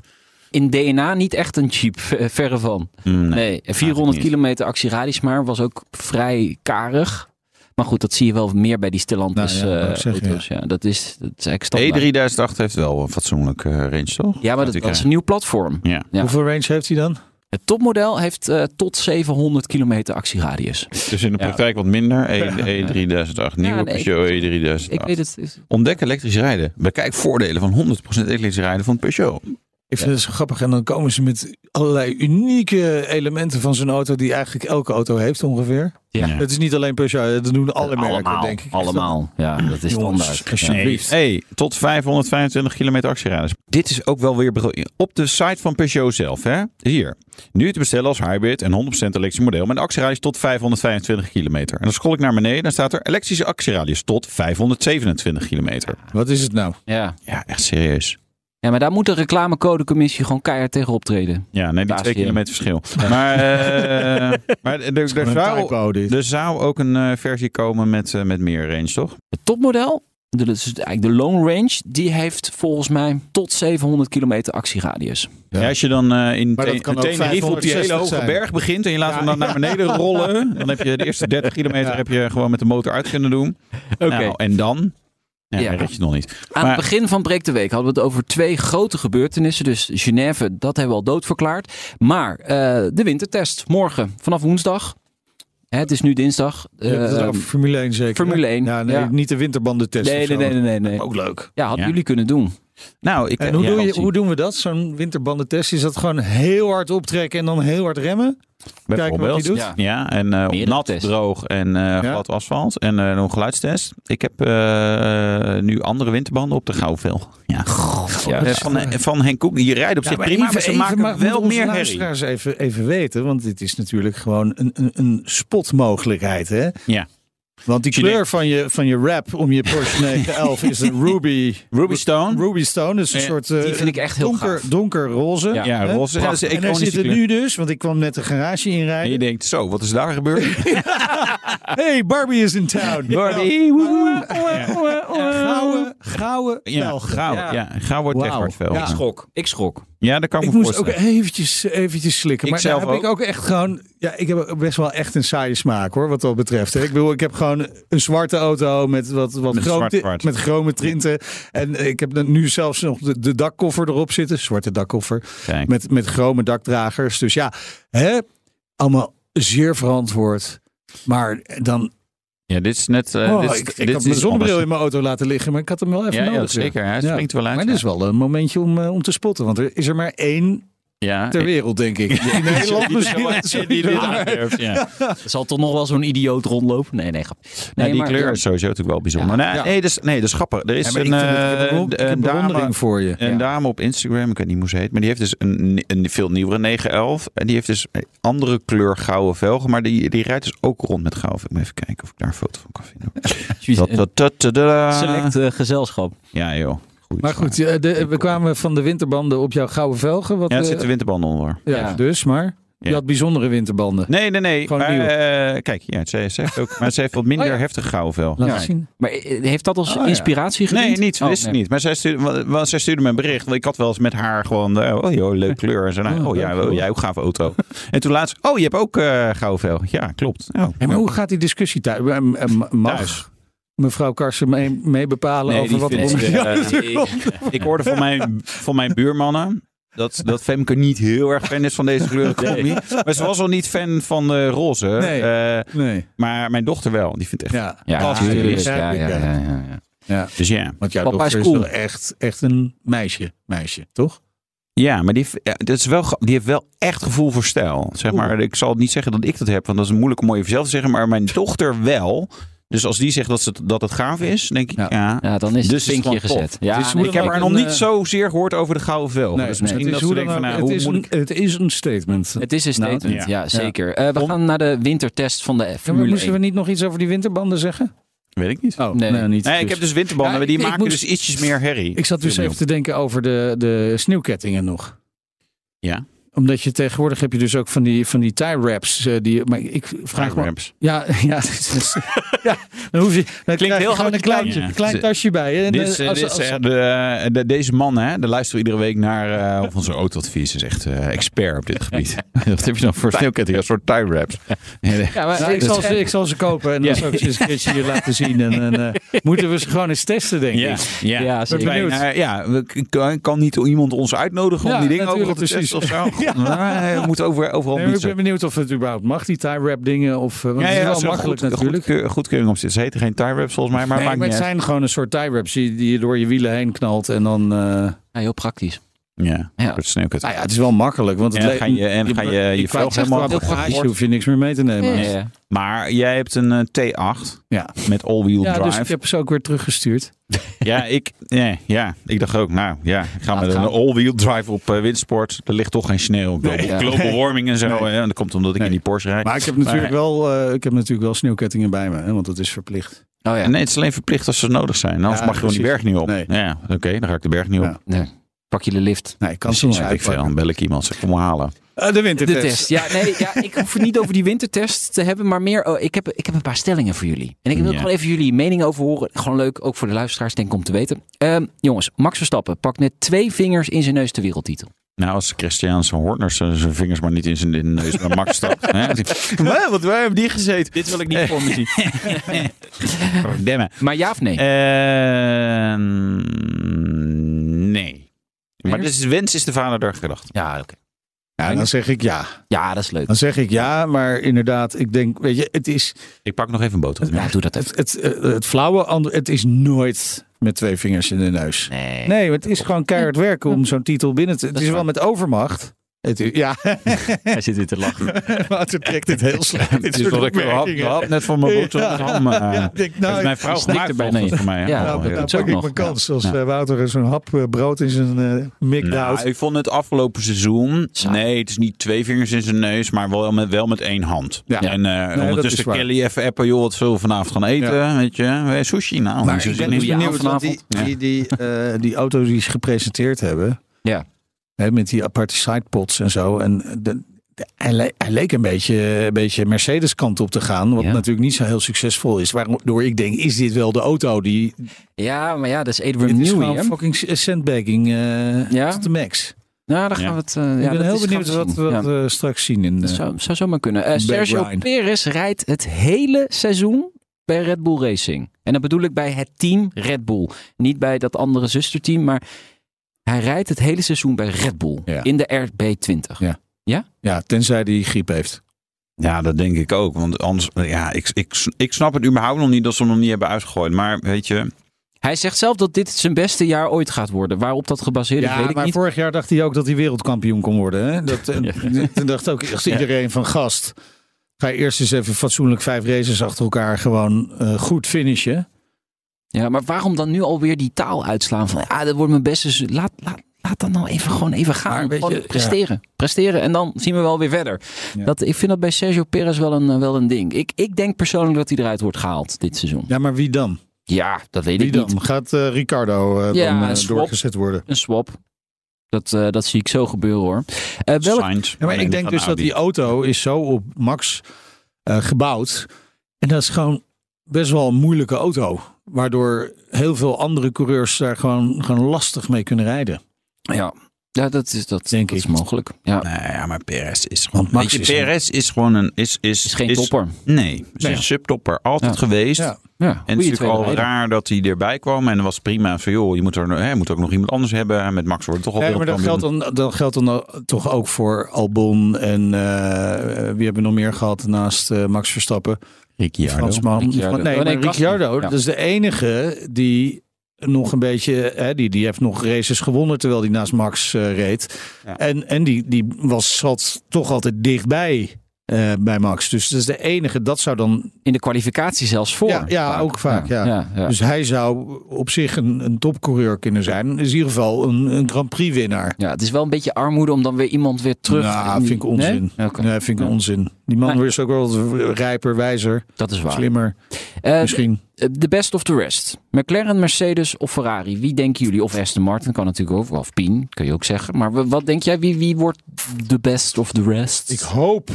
Speaker 1: In DNA niet echt een Jeep, eh, verre van.
Speaker 2: Mm, nee.
Speaker 1: Nee, 400
Speaker 2: niet.
Speaker 1: kilometer actieradius maar was ook vrij karig. Maar goed, dat zie je wel meer bij die Stellantis
Speaker 3: Nou ja,
Speaker 1: eh,
Speaker 3: wou ik zeggen,
Speaker 1: auto's. Ja. dat, is, dat is eigenlijk
Speaker 2: De
Speaker 3: E
Speaker 1: standaard.
Speaker 2: E3008 E heeft wel een fatsoenlijke eh, range, toch?
Speaker 1: Ja, maar dat,
Speaker 2: Natuurlijk,
Speaker 1: dat is
Speaker 2: hè.
Speaker 1: een nieuw platform.
Speaker 2: Ja.
Speaker 1: Ja.
Speaker 3: Hoeveel range heeft hij dan?
Speaker 1: Het topmodel heeft eh, tot 700 kilometer actieradius.
Speaker 2: Dus in de
Speaker 1: Ja.
Speaker 2: praktijk wat minder. E, E3008, nieuwe
Speaker 1: nee, ik-
Speaker 2: Peugeot E3008.
Speaker 1: Ik weet het. is-
Speaker 2: Ontdek elektrisch rijden. Bekijk voordelen van 100% elektrisch rijden van Peugeot.
Speaker 3: Ik vind het zo grappig. En dan komen ze met allerlei unieke elementen van zo'n auto die eigenlijk elke auto heeft ongeveer.
Speaker 1: Ja.
Speaker 3: Het is niet alleen Peugeot, dat doen alle merken
Speaker 1: allemaal,
Speaker 3: denk ik.
Speaker 1: allemaal. Ja, dat is
Speaker 3: Jongens,
Speaker 1: standaard. Ja.
Speaker 3: alsjeblieft.
Speaker 2: Hey, tot 525 kilometer actieradius. Dit is ook wel weer bego- op de site van Peugeot zelf. Hè? Hier. Nu te bestellen als hybrid en 100% elektrisch model met een actieradius tot 525 kilometer. En dan scroll ik naar beneden dan staat er elektrische actieradius tot 527 kilometer.
Speaker 3: Wat is het nou?
Speaker 1: Ja.
Speaker 2: Ja, echt serieus.
Speaker 1: ja, maar daar moet de reclamecodecommissie gewoon keihard tegen optreden.
Speaker 2: Ja, nee, die
Speaker 1: Daar
Speaker 2: twee
Speaker 1: zie je hem.
Speaker 2: kilometer verschil. Maar, eh, maar er, er,
Speaker 3: Gewoon een
Speaker 2: zou,
Speaker 3: typo dit.
Speaker 2: er zou ook een eh, versie komen met, eh, met meer range, toch?
Speaker 1: Het topmodel, de- dus eigenlijk de long range, die heeft volgens mij tot 700 kilometer actieradius.
Speaker 2: Ja. als je dan eh, in
Speaker 3: Maar dat
Speaker 2: Te-
Speaker 3: kan ook
Speaker 2: Tenerife op die hele
Speaker 3: 560
Speaker 2: hoge
Speaker 3: zijn.
Speaker 2: berg begint en je laat hem dan naar beneden rollen, dan heb je de eerste 30 kilometer heb je gewoon met de motor uit kunnen doen.
Speaker 1: Oké.
Speaker 2: Nou, en dan? Ja,
Speaker 1: Ja.
Speaker 2: dan red je het nog niet.
Speaker 1: Aan
Speaker 2: Maar-
Speaker 1: het begin van Breek de Week hadden we het over twee grote gebeurtenissen. Dus Genève, dat hebben we al doodverklaard. Maar eh, de wintertest, morgen, vanaf woensdag. Hè, Het is nu dinsdag.
Speaker 3: Je hebt het
Speaker 1: Eh,
Speaker 3: over Formule 1 zeker.
Speaker 1: Formule 1,
Speaker 3: Ja, nee,
Speaker 1: ja.
Speaker 3: Niet de winterbandentest.
Speaker 1: nee,
Speaker 3: of zo.
Speaker 1: nee, nee, nee, nee, nee.
Speaker 3: Ook leuk.
Speaker 1: Ja, hadden
Speaker 2: Ja.
Speaker 1: jullie kunnen doen.
Speaker 2: Nou, ik,
Speaker 3: En hoe,
Speaker 2: ja,
Speaker 3: doe je,
Speaker 2: optie.
Speaker 3: hoe doen we dat? Zo'n winterbandentest? Is dat gewoon heel hard optrekken en dan heel hard remmen? Kijken wat hij
Speaker 2: Bijvoorbeeld.
Speaker 3: doet?
Speaker 1: Ja.
Speaker 2: Ja, en eh, op
Speaker 1: Meerdere
Speaker 2: nat,
Speaker 1: tests.
Speaker 2: droog en eh, glad asfalt. En eh, nog een geluidstest. Ik heb eh, nu andere winterbanden op de Gouveel. Ja.
Speaker 1: Ja,
Speaker 2: Eh, Van, eh, van Henk Koek. Je rijdt op zich
Speaker 3: maar
Speaker 2: prima, maar ze
Speaker 3: even-
Speaker 2: maken
Speaker 3: even- maar
Speaker 2: wel
Speaker 3: moeten onze
Speaker 2: meer herrie.
Speaker 3: luisteraars Even, even weten, want dit is natuurlijk gewoon een, een, een spotmogelijkheid. Hè?
Speaker 2: Ja.
Speaker 3: Want die
Speaker 2: Je denkt-
Speaker 3: kleur van je, van je rap om je Porsche 911 is een ruby,
Speaker 2: Ruby Stone.
Speaker 3: ruby stone. Dus een
Speaker 2: Ja,
Speaker 3: soort eh,
Speaker 1: die vind ik echt heel
Speaker 3: donker,
Speaker 1: gaaf.
Speaker 3: donkerroze.
Speaker 1: Ja.
Speaker 2: ja,
Speaker 3: Hè?
Speaker 2: roze. Ja, dat is
Speaker 3: en daar
Speaker 2: iconische
Speaker 3: zitten
Speaker 2: kleur.
Speaker 3: nu dus, want ik kwam net de garage
Speaker 2: En je
Speaker 3: inrijden.
Speaker 2: denkt, zo, wat is daar gebeurd?
Speaker 3: Hey, Barbie is in town. Nou,
Speaker 1: Barbie, woe,
Speaker 3: Gouden, gouden
Speaker 2: Ja,
Speaker 3: Belgen.
Speaker 2: gauw.
Speaker 1: Ja.
Speaker 2: Ja, gauw wordt
Speaker 3: Wauw.
Speaker 2: Teghartveld.
Speaker 1: Ik schrok, ik schrok.
Speaker 2: Ja, dat kan ik
Speaker 3: Ik
Speaker 2: me
Speaker 3: moest ook
Speaker 2: voorstellen.
Speaker 3: eventjes, eh, eventjes slikken.
Speaker 2: Ik
Speaker 3: Maar daar
Speaker 2: zelf
Speaker 3: heb ik ook echt gewoon... Ja, ik heb ook best wel echt een saaie smaak hoor, wat dat betreft. hè. Ik bedoel, ik heb gewoon een zwarte auto met wat, wat
Speaker 2: Met
Speaker 3: chroom-
Speaker 2: zwart, zwart.
Speaker 3: met chrome trinten. En ik heb nu zelfs nog de, de dakkoffer erop zitten. Zwarte dakkoffer.
Speaker 2: Kijk.
Speaker 3: Met, met chrome dakdragers. Dus ja, hè? allemaal zeer verantwoord. Maar dan...
Speaker 2: Ja, dit is net... eh,
Speaker 3: oh,
Speaker 2: dit, is-
Speaker 3: ik, ik
Speaker 2: dit
Speaker 3: had
Speaker 2: is
Speaker 3: mijn zonnebril
Speaker 2: anders.
Speaker 3: in mijn auto laten liggen, maar ik had hem wel even
Speaker 2: Ja,
Speaker 3: nodig.
Speaker 2: ja,
Speaker 3: zeg.
Speaker 2: zeker. Hij
Speaker 3: Ja.
Speaker 2: springt wel uit.
Speaker 3: Maar dit is wel een momentje om, eh, om te spotten. Want er is er maar één
Speaker 2: ja,
Speaker 3: ter
Speaker 2: ik-
Speaker 3: wereld, denk ik. In Nederland misschien. wel.
Speaker 2: die- die dit aandurft, ja.
Speaker 1: Er zal toch nog wel zo'n idioot rondlopen? Nee, nee, grap.
Speaker 2: Nee, die
Speaker 1: maar-
Speaker 2: kleur is sowieso natuurlijk wel bijzonder. Nee,
Speaker 3: Ja.
Speaker 2: nee, dat is, nee, dat is grappig. Er
Speaker 3: Ja,
Speaker 2: is
Speaker 3: maar ik
Speaker 2: een,
Speaker 3: vind het- ik heb
Speaker 2: eh,
Speaker 3: bewond- ik heb
Speaker 2: een dame,
Speaker 3: bewondering voor je.
Speaker 2: een
Speaker 1: Ja.
Speaker 2: dame op Instagram, ik weet niet hoe ze heet, maar die heeft dus een, een veel nieuwere 911. En die heeft dus een andere kleur gouden velgen, maar die, die rijdt dus ook rond met gouden. velgen. Ik moet even kijken of ik daar een foto van kan vinden.
Speaker 1: Precies,
Speaker 2: Dat,
Speaker 1: een
Speaker 2: dat, dat, dat, dat.
Speaker 1: eh, Select eh, gezelschap.
Speaker 2: Ja joh. Goed,
Speaker 3: Maar goed, eh, de- we kwamen van de winterbanden op jouw gouden velgen. Wat,
Speaker 2: Ja, er
Speaker 3: eh,
Speaker 2: zitten winterbanden onder.
Speaker 3: ja,
Speaker 1: ja.
Speaker 3: dus, maar je
Speaker 2: Ja.
Speaker 3: had bijzondere winterbanden.
Speaker 2: Nee, nee, nee.
Speaker 3: Gewoon
Speaker 2: Maar,
Speaker 3: nieuw.
Speaker 2: eh, kijk, ja, ze, ze heeft ook, maar ze heeft wat minder
Speaker 3: Oh ja.
Speaker 2: heftig gouden vel.
Speaker 3: Laat
Speaker 2: Ja.
Speaker 3: eens zien.
Speaker 1: Maar eh, heeft dat als
Speaker 3: Oh, ja.
Speaker 1: inspiratie gediend?
Speaker 2: Nee, niet.
Speaker 1: Oh,
Speaker 2: wist
Speaker 1: nee.
Speaker 2: het niet. Maar zij stuurde, wa- wa- zij stuurde me een bericht. Want ik had wel eens met haar gewoon... eh, Oh joh, leuke kleur. En ze nou,
Speaker 3: Oh,
Speaker 2: oh ja,
Speaker 3: leuk,
Speaker 2: oh,
Speaker 3: hoor.
Speaker 2: jij ook gaaf auto. en toen laatst... Oh, je hebt ook eh gouden vel. Ja, klopt. Oh,
Speaker 3: Hé, maar hoe gaat die discussie thuis? Eh, eh, Mag?
Speaker 2: Thuis.
Speaker 3: mevrouw Karsen mee, mee bepalen
Speaker 2: Nee,
Speaker 3: over
Speaker 2: die
Speaker 3: wat
Speaker 2: vindt
Speaker 3: onder
Speaker 2: ze,
Speaker 3: de
Speaker 2: eh,
Speaker 3: andere
Speaker 1: die-
Speaker 3: grond-
Speaker 2: Ik hoorde van mijn, van mijn buurmannen dat, dat Femke niet heel erg fan is van deze kleurenconomie. Maar ze was al niet fan van eh, roze.
Speaker 3: Nee.
Speaker 2: Eh,
Speaker 3: Nee.
Speaker 2: maar mijn dochter wel. Die vindt echt...
Speaker 3: Ja,
Speaker 1: Ja,
Speaker 3: Ah,
Speaker 1: natuurlijk.
Speaker 3: ja,
Speaker 1: Ja, ja,
Speaker 3: ja.
Speaker 1: ja, ja, ja.
Speaker 3: ja.
Speaker 2: Dus ja.
Speaker 3: Want jouw
Speaker 1: Papa
Speaker 3: dochter
Speaker 1: is
Speaker 3: is
Speaker 1: cool.
Speaker 3: wel echt, echt een meisje, meisje, toch?
Speaker 2: Ja, maar die, heeft- ja, dat is wel, gra- die heeft wel echt gevoel voor stijl. Zeg maar, ik zal niet zeggen dat ik dat heb, want dat is moeilijk om mooi over zelf te zeggen. Maar mijn dochter wel. Dus als die zegt dat, ze, dat het gaaf is, denk ik,
Speaker 3: Ja.
Speaker 2: ja.
Speaker 1: Ja, dan is
Speaker 2: Dus
Speaker 1: het
Speaker 2: het is
Speaker 1: vinkje
Speaker 2: gewoon
Speaker 1: gezet.
Speaker 2: tof.
Speaker 1: Ja,
Speaker 3: Het is
Speaker 1: nee,
Speaker 3: hoe
Speaker 2: ik heb
Speaker 3: dan
Speaker 2: haar
Speaker 3: ook
Speaker 2: nog
Speaker 3: een,
Speaker 2: niet
Speaker 3: eh,
Speaker 2: zozeer gehoord over de gouden vel.
Speaker 3: Nee,
Speaker 2: dus
Speaker 3: het
Speaker 2: misschien
Speaker 3: is
Speaker 2: dat
Speaker 3: hoe
Speaker 2: ze denkt
Speaker 3: dan
Speaker 2: van,
Speaker 3: ook-
Speaker 2: nou,
Speaker 3: het
Speaker 2: hoe
Speaker 3: is
Speaker 2: moet
Speaker 3: een-
Speaker 2: ik...
Speaker 3: Het is een statement.
Speaker 1: het is een
Speaker 3: Nou,
Speaker 1: statement,
Speaker 2: ja.
Speaker 1: ja, zeker. Eh, we
Speaker 2: Om-
Speaker 1: gaan naar de wintertest van de
Speaker 3: Ja, maar
Speaker 1: Formule
Speaker 3: moesten
Speaker 1: 1.
Speaker 3: we niet nog iets over die winterbanden zeggen?
Speaker 2: Weet ik niet.
Speaker 3: Oh,
Speaker 1: Nee.
Speaker 3: niet.
Speaker 2: Nee, ik
Speaker 3: dus.
Speaker 2: heb dus winterbanden,
Speaker 3: Ja,
Speaker 2: maar die
Speaker 3: ik- ik
Speaker 2: maken
Speaker 3: moest-
Speaker 2: dus ietsjes meer herrie.
Speaker 3: Ik zat dus
Speaker 2: Viel me
Speaker 3: even te denken over de, de sneeuwkettingen nog.
Speaker 2: Ja.
Speaker 3: Omdat je tegenwoordig heb je dus ook van die, van die tie wraps. eh, die, maar ik vraag
Speaker 2: Vraag
Speaker 3: me.
Speaker 2: Ramps.
Speaker 3: Ja, ja, dit is- ja, dan hoef je. Dan krijg je
Speaker 2: heel
Speaker 3: gewoon een
Speaker 2: groot,
Speaker 3: klein,
Speaker 2: ja.
Speaker 3: klein tasje bij. hè. En,
Speaker 2: Dit
Speaker 3: eh,
Speaker 2: is, eh,
Speaker 3: als-
Speaker 2: dit is
Speaker 3: als-
Speaker 2: echt de, eh, de- deze man, hè, de luistert iedere week naar eh, of onze autoadvies. is echt eh, expert op dit gebied. Wat heb je dan voor sneeuwketting? Een soort tie wraps.
Speaker 3: Ja, maar ik, zal ze, ik zal ze kopen en dan zal ik ze eens een keertje hier laten zien. En, en, eh, moeten we ze gewoon eens testen, denk
Speaker 2: Ja,
Speaker 3: ik.
Speaker 2: ja.
Speaker 1: Ja, zeker.
Speaker 2: Wij,
Speaker 3: Benieuwd.
Speaker 2: nou, ja, we k- kan, kan niet iemand ons uitnodigen
Speaker 3: Ja,
Speaker 2: om die dingen over te
Speaker 3: natuurlijk,
Speaker 2: testen of zo. God, nou, we moeten over, overal
Speaker 3: Nee, maar ik
Speaker 2: bieden.
Speaker 3: ben benieuwd of het überhaupt mag, die tie-wrap dingen. Of, eh, want het is wel
Speaker 2: als er
Speaker 3: makkelijk
Speaker 2: goed,
Speaker 3: natuurlijk.
Speaker 2: Goed, goedkeuring op zit. Ze heten geen tie wraps volgens mij, maar
Speaker 3: Nee,
Speaker 2: maakt
Speaker 3: maar
Speaker 2: niet
Speaker 3: het zijn gewoon een soort tie-wraps die, die je door je wielen heen knalt. En dan... eh,
Speaker 1: Ja, heel praktisch.
Speaker 2: uit. Ja,
Speaker 1: Ja.
Speaker 2: een soort sneeuwketting.
Speaker 3: nou ja, het is wel makkelijk. Want het
Speaker 2: En
Speaker 3: le-
Speaker 2: ga je- en ga je- je
Speaker 3: ik wou
Speaker 2: velg
Speaker 3: zeggen,
Speaker 2: helemaal
Speaker 3: qua
Speaker 2: opgegaan.
Speaker 3: bagage hoef je niks meer mee te nemen. Ja,
Speaker 1: Ja.
Speaker 2: Maar jij hebt een eh, T8
Speaker 3: ja.
Speaker 2: met all-wheel drive.
Speaker 3: dus ik heb ze ook weer teruggestuurd.
Speaker 2: Ja, ik, nee, ja, ik dacht ook, nou ja, ik ga
Speaker 1: Laat
Speaker 2: met een
Speaker 1: gaan.
Speaker 2: all-wheel drive op eh, windsport. Er ligt toch geen sneeuw. Global,
Speaker 1: ja.
Speaker 2: global warming en zo. hè, en dat komt omdat ik in die Porsche rijd.
Speaker 3: Maar ik heb natuurlijk, wel, eh, ik heb natuurlijk wel sneeuwkettingen bij me. Hè, want dat is verplicht.
Speaker 1: Oh ja,
Speaker 2: Nee, het is alleen verplicht als ze nodig zijn. Anders
Speaker 3: Ja,
Speaker 2: mag je gewoon die berg
Speaker 3: precies.
Speaker 2: niet op.
Speaker 3: Nee.
Speaker 2: Ja, oké, dan ga ik de berg niet op.
Speaker 3: Ja.
Speaker 1: nee. pak je de lift.
Speaker 3: Nee, ik kan
Speaker 2: Precies,
Speaker 3: soms
Speaker 2: weet ik veel. Dan
Speaker 3: uitpakken.
Speaker 2: bel ik iemand, zeg, kom me halen.
Speaker 3: Eh, de wintertest.
Speaker 1: De test. Ja, nee, ja, ik hoef het niet over die wintertest te hebben, maar meer. oh, ik, heb, ik heb een paar stellingen voor jullie. En ik wil
Speaker 2: Ja.
Speaker 1: gewoon even jullie mening over horen. Gewoon leuk, ook voor de luisteraars, denk ik, om te weten. Ehm, jongens, Max Verstappen pakt net twee vingers in zijn neus de wereldtitel.
Speaker 2: Nou, als Christian zijn horners eh, zijn vingers maar niet in zijn in de neus bij Max stapt. hè. Hè, Want wij hebben die gezeten. Dit wil ik niet voor me zien. Demmen.
Speaker 1: Maar ja of nee?
Speaker 2: Eh, nee. Maar dus de wens is de vader der gedachten.
Speaker 1: ja, oké.
Speaker 3: Ja, dan zeg ik ja.
Speaker 1: Ja, dat is leuk.
Speaker 3: Dan zeg ik ja, maar inderdaad, ik denk, weet je, het is
Speaker 2: Ik pak nog even een boterham.
Speaker 1: Ja, doe dat even.
Speaker 3: het, het, eh, het flauwe, ant- het is nooit met twee vingers in de neus.
Speaker 1: Nee.
Speaker 3: Nee, want het is gewoon keihard werken om zo'n titel binnen te. Het
Speaker 1: Dat
Speaker 3: is
Speaker 1: is
Speaker 3: wel met overmacht. Het is, ja,
Speaker 2: Hij zit hier te lachen.
Speaker 3: Wouter trekt dit heel slecht.
Speaker 2: Dit is wat ik had, had net van mijn broek.
Speaker 3: Ja.
Speaker 2: zo'n ham, eh,
Speaker 3: Ja, ik denk, nou,
Speaker 2: heeft mijn vrouw
Speaker 3: ik-
Speaker 2: gemaakt
Speaker 1: erbij,
Speaker 2: volgens
Speaker 1: nee.
Speaker 2: voor mij. hè.
Speaker 1: Ja,
Speaker 2: Oh,
Speaker 3: Nou,
Speaker 1: dat
Speaker 3: nou
Speaker 1: is
Speaker 3: pak
Speaker 1: ook
Speaker 3: ik
Speaker 1: nog.
Speaker 3: mijn kans als
Speaker 2: Ja.
Speaker 3: eh, Wouter zo'n hap eh, brood in zijn eh mik
Speaker 2: Nou,
Speaker 3: duwt.
Speaker 2: ik vond het afgelopen seizoen.
Speaker 1: Saai.
Speaker 2: Nee, het is niet twee vingers in zijn neus, maar wel met, wel met één hand.
Speaker 3: Ja.
Speaker 2: En eh,
Speaker 3: is
Speaker 2: ondertussen
Speaker 3: waar.
Speaker 2: Kelly even appen, joh, wat zullen we vanavond gaan eten? Weet je, Eh, sushi nou.
Speaker 3: Maar
Speaker 2: niet zo
Speaker 3: ik
Speaker 2: zin
Speaker 3: ben
Speaker 2: in.
Speaker 3: dus
Speaker 1: Ja,
Speaker 3: benieuwd, want die,
Speaker 1: vanavond.
Speaker 3: die, die, eh, die auto's die ze gepresenteerd hebben.
Speaker 1: Ja.
Speaker 3: Hè, met die aparte sidepods en zo. En de, de- hij, le- hij leek een beetje, een beetje Mercedes kant op te gaan. Wat
Speaker 1: Ja.
Speaker 3: natuurlijk niet zo heel succesvol is. Waardoor ik denk, is dit wel de auto die...
Speaker 1: Ja, maar ja, dat is
Speaker 3: Dit
Speaker 1: Edwin
Speaker 3: is
Speaker 1: Newey.
Speaker 3: gewoon
Speaker 1: hè?
Speaker 3: fucking sandbagging eh,
Speaker 1: Ja.
Speaker 3: tot de max.
Speaker 1: Nou, dan gaan
Speaker 2: Ja.
Speaker 1: we het. eh, ja,
Speaker 3: ik ben
Speaker 1: dat
Speaker 3: heel
Speaker 1: is-
Speaker 3: benieuwd
Speaker 1: gaan we
Speaker 3: wat
Speaker 1: zien.
Speaker 3: we
Speaker 1: Ja.
Speaker 3: dat, eh, straks zien. In,
Speaker 1: Dat
Speaker 3: eh,
Speaker 1: zou, zou zomaar kunnen. Eh,
Speaker 3: Back
Speaker 1: Sergio
Speaker 3: Ryan.
Speaker 1: Perez rijdt het hele seizoen bij Red Bull Racing. En dat bedoel ik bij het team Red Bull. Niet bij dat andere zusterteam, maar hij rijdt het hele seizoen bij Red Bull.
Speaker 3: Ja.
Speaker 1: In de RB20.
Speaker 3: Ja. ja, tenzij die griep heeft.
Speaker 2: Ja, dat denk ik ook. Want anders, ja, ik, ik, ik snap het überhaupt nog niet dat ze hem nog niet hebben uitgegooid. Maar weet je,
Speaker 1: Hij zegt zelf dat dit zijn beste jaar ooit gaat worden. Waarop dat gebaseerd is,
Speaker 3: Ja,
Speaker 1: weet ik
Speaker 3: maar
Speaker 1: niet.
Speaker 3: vorig jaar dacht hij ook dat hij wereldkampioen kon worden. Hè? Dat, eh, Toen dacht ook echt iedereen van gast. Ga je eerst eens even fatsoenlijk vijf races achter elkaar gewoon eh, goed finishen.
Speaker 1: Ja, maar waarom dan nu alweer die taal uitslaan van... Ah, dat wordt mijn beste... seizoen. Laat, laat, laat dan nou even gewoon even gaan.
Speaker 3: Maar weet
Speaker 1: Gewoon
Speaker 3: je-
Speaker 1: presteren. Presteren en dan zien we wel weer verder.
Speaker 3: Ja.
Speaker 1: Dat, ik vind dat bij Sergio Perez wel een, eh, wel een ding. Ik, ik denk persoonlijk dat hij eruit wordt gehaald dit seizoen.
Speaker 3: Ja, maar wie dan?
Speaker 1: Ja, dat weet
Speaker 3: Wie
Speaker 1: ik niet.
Speaker 3: dan? Gaat eh, Ricardo eh,
Speaker 1: Ja,
Speaker 3: dan eh,
Speaker 1: een swap.
Speaker 3: doorgezet worden?
Speaker 1: Een swap. Dat, eh, dat zie ik zo gebeuren hoor. Eh welk...
Speaker 2: Sainz,
Speaker 3: Ja, maar ik denk
Speaker 2: van
Speaker 3: dus dat
Speaker 2: Audi.
Speaker 3: die auto is zo op Max eh, gebouwd. En dat is gewoon best wel een moeilijke auto. Waardoor heel veel andere coureurs daar gewoon, gewoon lastig mee kunnen rijden.
Speaker 1: Ja. Ja, dat is, dat,
Speaker 3: Denk
Speaker 1: dat is
Speaker 3: ik.
Speaker 1: mogelijk. Ja.
Speaker 2: Nou ja, maar PRS is gewoon...
Speaker 3: Want Max
Speaker 2: weet
Speaker 3: is
Speaker 2: je, PRS is gewoon een... Is, is,
Speaker 1: Is geen topper.
Speaker 2: Nee, is
Speaker 3: Nee.
Speaker 2: een subtopper. Altijd
Speaker 1: Ja.
Speaker 2: geweest.
Speaker 3: Ja.
Speaker 1: Ja,
Speaker 2: En het is natuurlijk al raar dat hij erbij kwam. En dat was prima. Van joh, je moet, er, hè, moet ook nog iemand anders hebben. En met Max wordt het toch al
Speaker 3: Ja, maar dat geldt,
Speaker 2: wereldkampioen.
Speaker 3: dan, dat geldt dan toch ook voor Albon en eh, eh, wie hebben we nog meer gehad naast eh, Max Verstappen?
Speaker 2: Ricciardo.
Speaker 3: Fransman.
Speaker 1: Ricciardo.
Speaker 3: Nee,
Speaker 1: Oh, nee,
Speaker 3: maar
Speaker 1: Klassen.
Speaker 3: Ricciardo,
Speaker 1: Ja.
Speaker 3: dat is de enige die nog een beetje, hè, die, die heeft nog races gewonnen terwijl die naast Max eh, reed.
Speaker 2: Ja.
Speaker 3: En, en die, die was, zat toch altijd dichtbij eh, bij Max. Dus dat is de enige, dat zou dan...
Speaker 1: In de kwalificatie zelfs voor.
Speaker 3: Ja, ja, ook vaak, ja.
Speaker 1: ja, ja.
Speaker 3: Dus hij zou op zich een, een topcoureur kunnen zijn. Is in ieder geval een, een Grand Prix winnaar.
Speaker 1: Ja, het is wel een beetje armoede om dan weer iemand weer terug...
Speaker 3: Nou, vind ik onzin.
Speaker 1: Nee?
Speaker 3: Nee,
Speaker 1: Oké.
Speaker 3: vind ik
Speaker 1: Ja.
Speaker 3: onzin. Die man
Speaker 1: Nee.
Speaker 3: is ook wel rijper, wijzer,
Speaker 1: Dat is waar.
Speaker 3: slimmer.
Speaker 1: Eh,
Speaker 3: Misschien.
Speaker 1: De best of the rest. McLaren, Mercedes of Ferrari? Wie denken jullie? Of Aston Martin kan natuurlijk ook. Of Pien, kun je ook zeggen. Maar w- wat denk jij? Wie, wie wordt de best of the rest?
Speaker 3: Ik hoop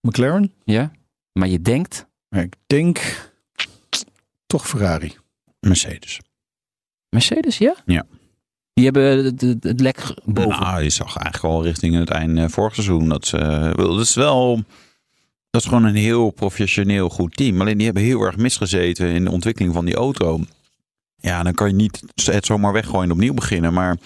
Speaker 3: McLaren.
Speaker 1: Ja? Maar je denkt...
Speaker 3: Maar ik denk toch Ferrari.
Speaker 2: Mercedes.
Speaker 1: Mercedes, ja?
Speaker 2: Ja.
Speaker 1: Die hebben het, het, het lek ge- boven.
Speaker 2: Nou, je zag eigenlijk al richting het einde vorig seizoen. Dat, ze, eh, wel, dat is wel... Dat is gewoon een heel professioneel goed team. Alleen die hebben heel erg misgezeten in de ontwikkeling van die auto. Ja, dan kan je niet het zomaar weggooien en opnieuw beginnen. Maar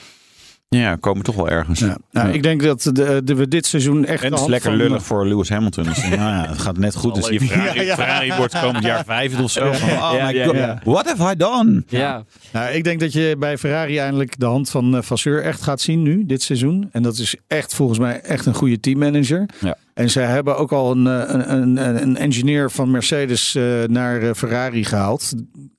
Speaker 2: ja, komen toch wel ergens.
Speaker 3: Ja. Nou, Ik denk dat de, de, we dit seizoen echt...
Speaker 2: En het
Speaker 3: de
Speaker 2: is
Speaker 3: hand
Speaker 2: lekker
Speaker 3: van-
Speaker 2: lullig voor Lewis Hamilton. Dus, nou ja, het gaat net goed. Dus die Ferrari, Ferrari wordt komend jaar vijfde of zo. Van, oh
Speaker 1: Ja,
Speaker 2: my
Speaker 1: ja,
Speaker 2: god,
Speaker 3: ja.
Speaker 2: what have I done?
Speaker 1: Ja.
Speaker 3: Nou, ik denk dat je bij Ferrari eindelijk de hand van eh, Vasseur echt gaat zien nu, dit seizoen. En dat is echt volgens mij echt een goede teammanager.
Speaker 1: Ja.
Speaker 3: En zij hebben ook al een, eh, een, een, een engineer van Mercedes eh, naar eh, Ferrari gehaald.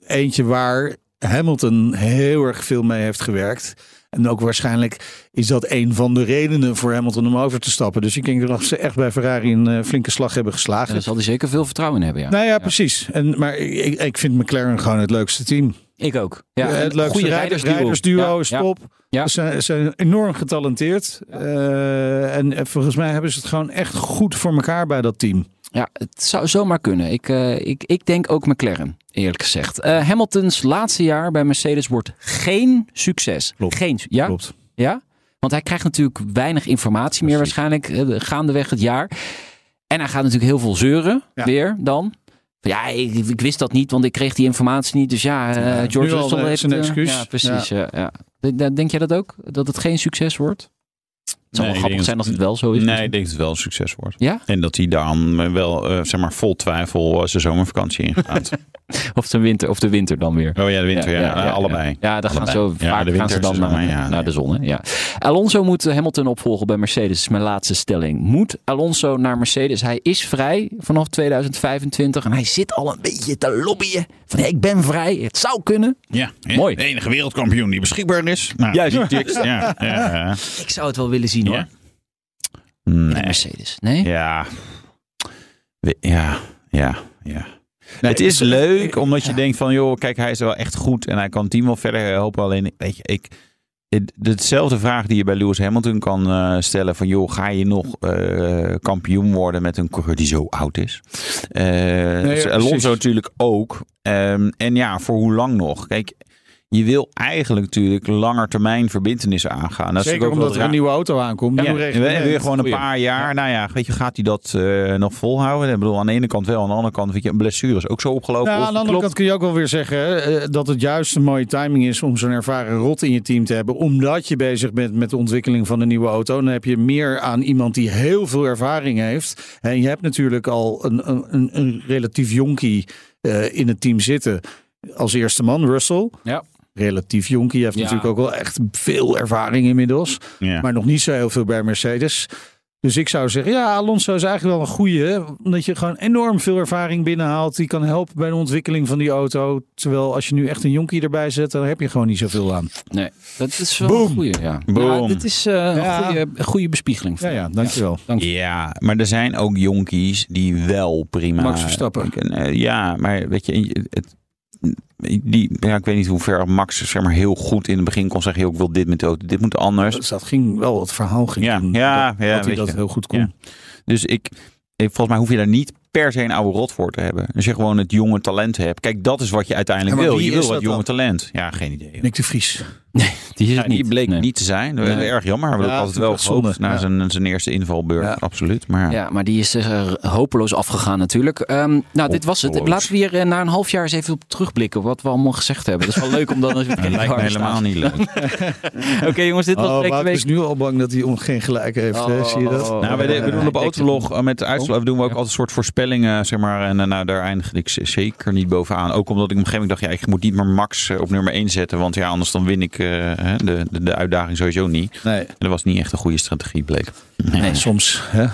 Speaker 3: Eentje waar Hamilton heel erg veel mee heeft gewerkt. En ook waarschijnlijk is dat een van de redenen voor Hamilton om over te stappen. Dus ik denk dat ze echt bij Ferrari een eh, flinke slag hebben
Speaker 1: Ja,
Speaker 3: geslagen.
Speaker 1: Daar zal hij zeker veel vertrouwen in hebben, ja.
Speaker 3: nou ja, precies. En, maar ik, ik vind McLaren gewoon het leukste team.
Speaker 1: Ik ook. Ja,
Speaker 3: Ja, Eh, het
Speaker 1: een
Speaker 3: leukste
Speaker 1: goede
Speaker 3: rijders, rijdersduo
Speaker 1: Ja,
Speaker 3: is
Speaker 1: ja.
Speaker 3: top.
Speaker 1: Ja.
Speaker 3: Ze, zijn, ze zijn enorm getalenteerd. Eh, en eh, volgens mij hebben ze het gewoon echt goed voor elkaar bij dat team.
Speaker 1: Ja, het zou zomaar kunnen. Ik, eh, ik, ik denk ook McLaren, eerlijk gezegd. Eh, Hamiltons laatste jaar bij Mercedes wordt geen succes.
Speaker 3: Klopt.
Speaker 1: Geen, su- ja?
Speaker 3: Klopt.
Speaker 2: Nou,
Speaker 1: Ja? Want hij krijgt natuurlijk weinig informatie meer
Speaker 2: Precies.
Speaker 1: waarschijnlijk eh, gaandeweg het jaar. En hij gaat natuurlijk heel veel zeuren
Speaker 3: Ja.
Speaker 1: weer dan. Van, Ja, ik, ik wist dat niet, want ik kreeg die informatie niet. Dus ja, eh,
Speaker 3: Ja, nu
Speaker 1: George
Speaker 3: al,
Speaker 1: Russell
Speaker 3: eh,
Speaker 1: heeft...
Speaker 3: zijn
Speaker 1: eh,
Speaker 3: excuus.
Speaker 1: Ja, precies. Ja. ja. Denk- denk- Denk jij dat ook? Dat het geen succes wordt? Het zou
Speaker 2: Nee, ik
Speaker 1: wel grappig
Speaker 2: denk
Speaker 1: zijn
Speaker 2: dat-
Speaker 1: als het wel zo is.
Speaker 2: Nee, ik denk dat het wel een succes wordt.
Speaker 1: Ja?
Speaker 2: En dat hij dan wel, eh, zeg maar, vol twijfel eh, zijn zomervakantie ingaat.
Speaker 1: Of, zijn winter, of de winter dan weer.
Speaker 2: oh ja, de winter, ja, nou, allebei.
Speaker 1: Ja, dan gaan ze zo
Speaker 2: Allebei. Ja,
Speaker 1: vaak
Speaker 2: de
Speaker 1: gaan ze
Speaker 2: winter
Speaker 1: dan
Speaker 2: is er
Speaker 1: naar,
Speaker 2: zomaar, ja,
Speaker 1: naar
Speaker 2: nee.
Speaker 1: de zon. Hè? Ja. Alonso moet eh, Hamilton opvolgen bij Mercedes, is mijn laatste stelling. Moet Alonso naar Mercedes? Hij is vrij vanaf 2025 en hij zit al een beetje te lobbyen. Van hey, ik ben vrij, het zou kunnen.
Speaker 2: Ja, hè?
Speaker 1: Mooi.
Speaker 2: De enige wereldkampioen die beschikbaar is. Nou,
Speaker 1: Ja,
Speaker 2: die
Speaker 1: ja.
Speaker 2: tikt. Ja, ja, ja.
Speaker 1: Ik zou het wel willen zien hoor.
Speaker 2: Ja.
Speaker 1: In de
Speaker 2: Nee.
Speaker 1: Mercedes. Nee?
Speaker 2: Ja. We- Ja, ja, ja. het is
Speaker 3: ik-
Speaker 2: leuk, omdat je denkt van, joh, kijk, hij is wel echt goed en hij kan het team wel verder helpen. Alleen, weet je, ik... het- Hetzelfde vraag die je bij Lewis Hamilton kan eh, stellen van, joh, ga je nog eh, kampioen worden met een coureur die zo oud is? Eh,
Speaker 3: ja, precies.
Speaker 2: Alonso natuurlijk ook. Ehm, en ja, voor hoe lang nog? Kijk, je wil eigenlijk natuurlijk langer termijn verbindenissen aangaan. Dat is natuurlijk
Speaker 3: Zeker
Speaker 2: ook wel
Speaker 3: omdat er
Speaker 2: raar.
Speaker 3: een nieuwe auto aankomt.
Speaker 2: Ja,
Speaker 3: Nieuwe
Speaker 2: en
Speaker 3: reglement.
Speaker 2: weer gewoon een
Speaker 3: Goeie.
Speaker 2: paar jaar. Nou ja, weet je, gaat hij dat eh, nog volhouden? Ik bedoel, aan de ene kant wel, aan de andere kant, weet je, een blessure is ook zo opgelopen.
Speaker 3: Nou,
Speaker 2: Of-
Speaker 3: aan de andere
Speaker 2: klopt.
Speaker 3: kant kun je ook wel weer zeggen eh, dat het juist een mooie timing is om zo'n ervaren rot in je team te hebben. Omdat je bezig bent met de ontwikkeling van een nieuwe auto. Dan heb je meer aan iemand die heel veel ervaring heeft. En je hebt natuurlijk al een, een, een- een relatief jonkie eh, in het team zitten. Als eerste man, Russell.
Speaker 1: Ja.
Speaker 3: Relatief jonkie. Hij heeft
Speaker 1: Ja.
Speaker 3: natuurlijk ook wel echt veel ervaring inmiddels.
Speaker 2: Ja.
Speaker 3: Maar nog niet zo heel veel bij Mercedes. Dus ik zou zeggen, ja, Alonso is eigenlijk wel een goeie. Omdat je gewoon enorm veel ervaring binnenhaalt. Die kan helpen bij de ontwikkeling van die auto. Terwijl als je nu echt een jonkie erbij zet, dan heb je gewoon niet zoveel aan.
Speaker 1: Nee. Dat is wel
Speaker 3: Boom.
Speaker 1: een goede. Ja.
Speaker 2: Boom.
Speaker 1: Ja, dit is eh,
Speaker 3: Ja.
Speaker 1: een, goede, een goede bespiegeling.
Speaker 3: Ja, ja, dankjewel.
Speaker 2: Ja, maar er zijn ook jonkies die wel prima...
Speaker 3: Max Verstappen.
Speaker 2: Ik- eh, ja, maar weet je, het, die, ja, ik weet niet hoe ver Max zeg maar, heel goed in het begin kon zeggen... joh, ik wil dit met de auto, dit moet anders.
Speaker 3: Dus dat ging wel, het verhaal ging
Speaker 2: Ja,
Speaker 3: toen
Speaker 2: ja,
Speaker 3: dat,
Speaker 2: ja,
Speaker 3: dat hij
Speaker 2: weet
Speaker 3: dat
Speaker 2: je.
Speaker 3: heel goed kon.
Speaker 2: Ja. Dus ik, ik- volgens mij hoef je daar niet per se een oude rot voor te hebben. Als je gewoon het jonge talent hebt. Kijk, dat is wat je uiteindelijk
Speaker 3: Ja, maar
Speaker 2: wil.
Speaker 3: wie
Speaker 2: Je wil
Speaker 3: is
Speaker 2: wat
Speaker 3: dat
Speaker 2: jonge
Speaker 3: dan?
Speaker 2: talent. Ja, geen idee. joh.
Speaker 3: Nick de Vries.
Speaker 1: Die is
Speaker 2: Ja,
Speaker 1: het niet.
Speaker 2: die bleek
Speaker 1: Nee.
Speaker 2: niet te zijn. Dat is
Speaker 3: Nee.
Speaker 2: Erg jammer. We hebben
Speaker 3: Ja,
Speaker 2: altijd wel
Speaker 3: dat is zonde.
Speaker 2: gehoopt naar
Speaker 3: Ja.
Speaker 2: zijn, eh, zijn eerste invalbeurt.
Speaker 3: Ja.
Speaker 2: Absoluut. Maar ja.
Speaker 1: Ja, maar die is er hopeloos afgegaan natuurlijk. Ehm, nou, dit was het.
Speaker 2: Hopeloos.
Speaker 1: Laten we hier eh, na een half jaar eens even op terugblikken. Wat we allemaal gezegd hebben. Dat is wel leuk om dan eens
Speaker 2: dat lijkt me helemaal niet leuk.
Speaker 1: Oké jongens, dit was
Speaker 3: Oh,
Speaker 1: Breek de
Speaker 3: Wout
Speaker 1: Week.
Speaker 3: is nu al bang dat hij om geen gelijk heeft. hè? Zie je dat?
Speaker 2: Nou, we,
Speaker 1: Oh,
Speaker 2: de- we
Speaker 1: eh,
Speaker 2: doen op
Speaker 1: ik-
Speaker 2: Autolog eh, met de uitslag doen we ook altijd een soort voorspellingen, zeg maar. En eh, nou, daar eindigde ik z- zeker niet bovenaan. Ook omdat ik op een gegeven moment dacht, ja, ik moet niet meer Max eh, op nummer 1 zetten. Want ja, anders dan win ik eh, hè, de, de, de uitdaging sowieso niet. En
Speaker 3: Nee.
Speaker 2: dat was niet echt een goede strategie, bleek.
Speaker 1: Nee.
Speaker 3: Soms. Hè?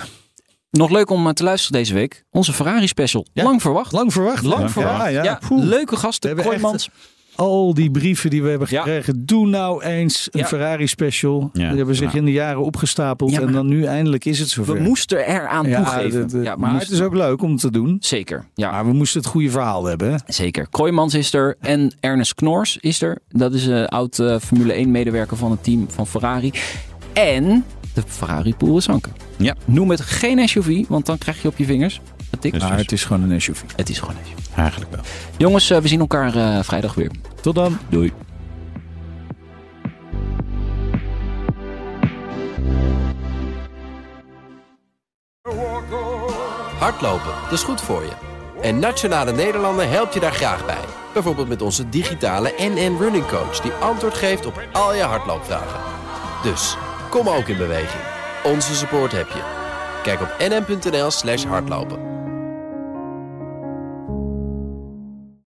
Speaker 1: Nog leuk om eh, te luisteren deze week. Onze Ferrari special.
Speaker 3: Ja.
Speaker 1: Lang verwacht.
Speaker 3: Lang verwacht.
Speaker 2: Lang
Speaker 3: Ja,
Speaker 2: verwacht.
Speaker 3: Ja, ja.
Speaker 1: Ja,
Speaker 3: Poeh.
Speaker 1: leuke gasten.
Speaker 3: We hebben echt-
Speaker 1: Kooijmans.
Speaker 3: Al die brieven die we hebben
Speaker 1: Ja.
Speaker 3: gekregen. Doe nou eens een
Speaker 1: Ja.
Speaker 3: Ferrari special.
Speaker 2: Ja.
Speaker 3: Die hebben zich
Speaker 2: Ja.
Speaker 3: in de jaren opgestapeld.
Speaker 1: Ja, maar-
Speaker 3: en dan nu eindelijk is het zover.
Speaker 1: We moesten eraan
Speaker 3: ja,
Speaker 1: toegeven.
Speaker 3: dat- dat-
Speaker 1: ja, we
Speaker 3: maar het
Speaker 1: moesten-
Speaker 3: is ook leuk om te doen.
Speaker 1: Zeker. Ja.
Speaker 3: Maar we moesten het goede verhaal hebben. hè?
Speaker 1: Zeker. Kooijmans is er en Ernest Knors is er. Dat is een oud eh, Formule 1 medewerker van het team van Ferrari. En de Ferrari Poerensanker.
Speaker 2: Ja.
Speaker 1: Noem het geen SUV, want dan krijg je op je vingers getikt.
Speaker 2: Dus-
Speaker 3: Maar het is gewoon een SUV.
Speaker 1: Het is gewoon een SUV.
Speaker 2: Eigenlijk wel.
Speaker 1: Jongens, eh, we zien elkaar eh, vrijdag weer.
Speaker 3: Tot dan.
Speaker 1: Doei.
Speaker 4: Hardlopen, dat is goed voor je. En Nationale Nederlanden helpt je daar graag bij. Bijvoorbeeld met onze digitale NN Running Coach... die antwoord geeft op al je hardloopvragen. Dus, kom ook in beweging. Onze support heb je. Kijk op nn.nl slash hardlopen.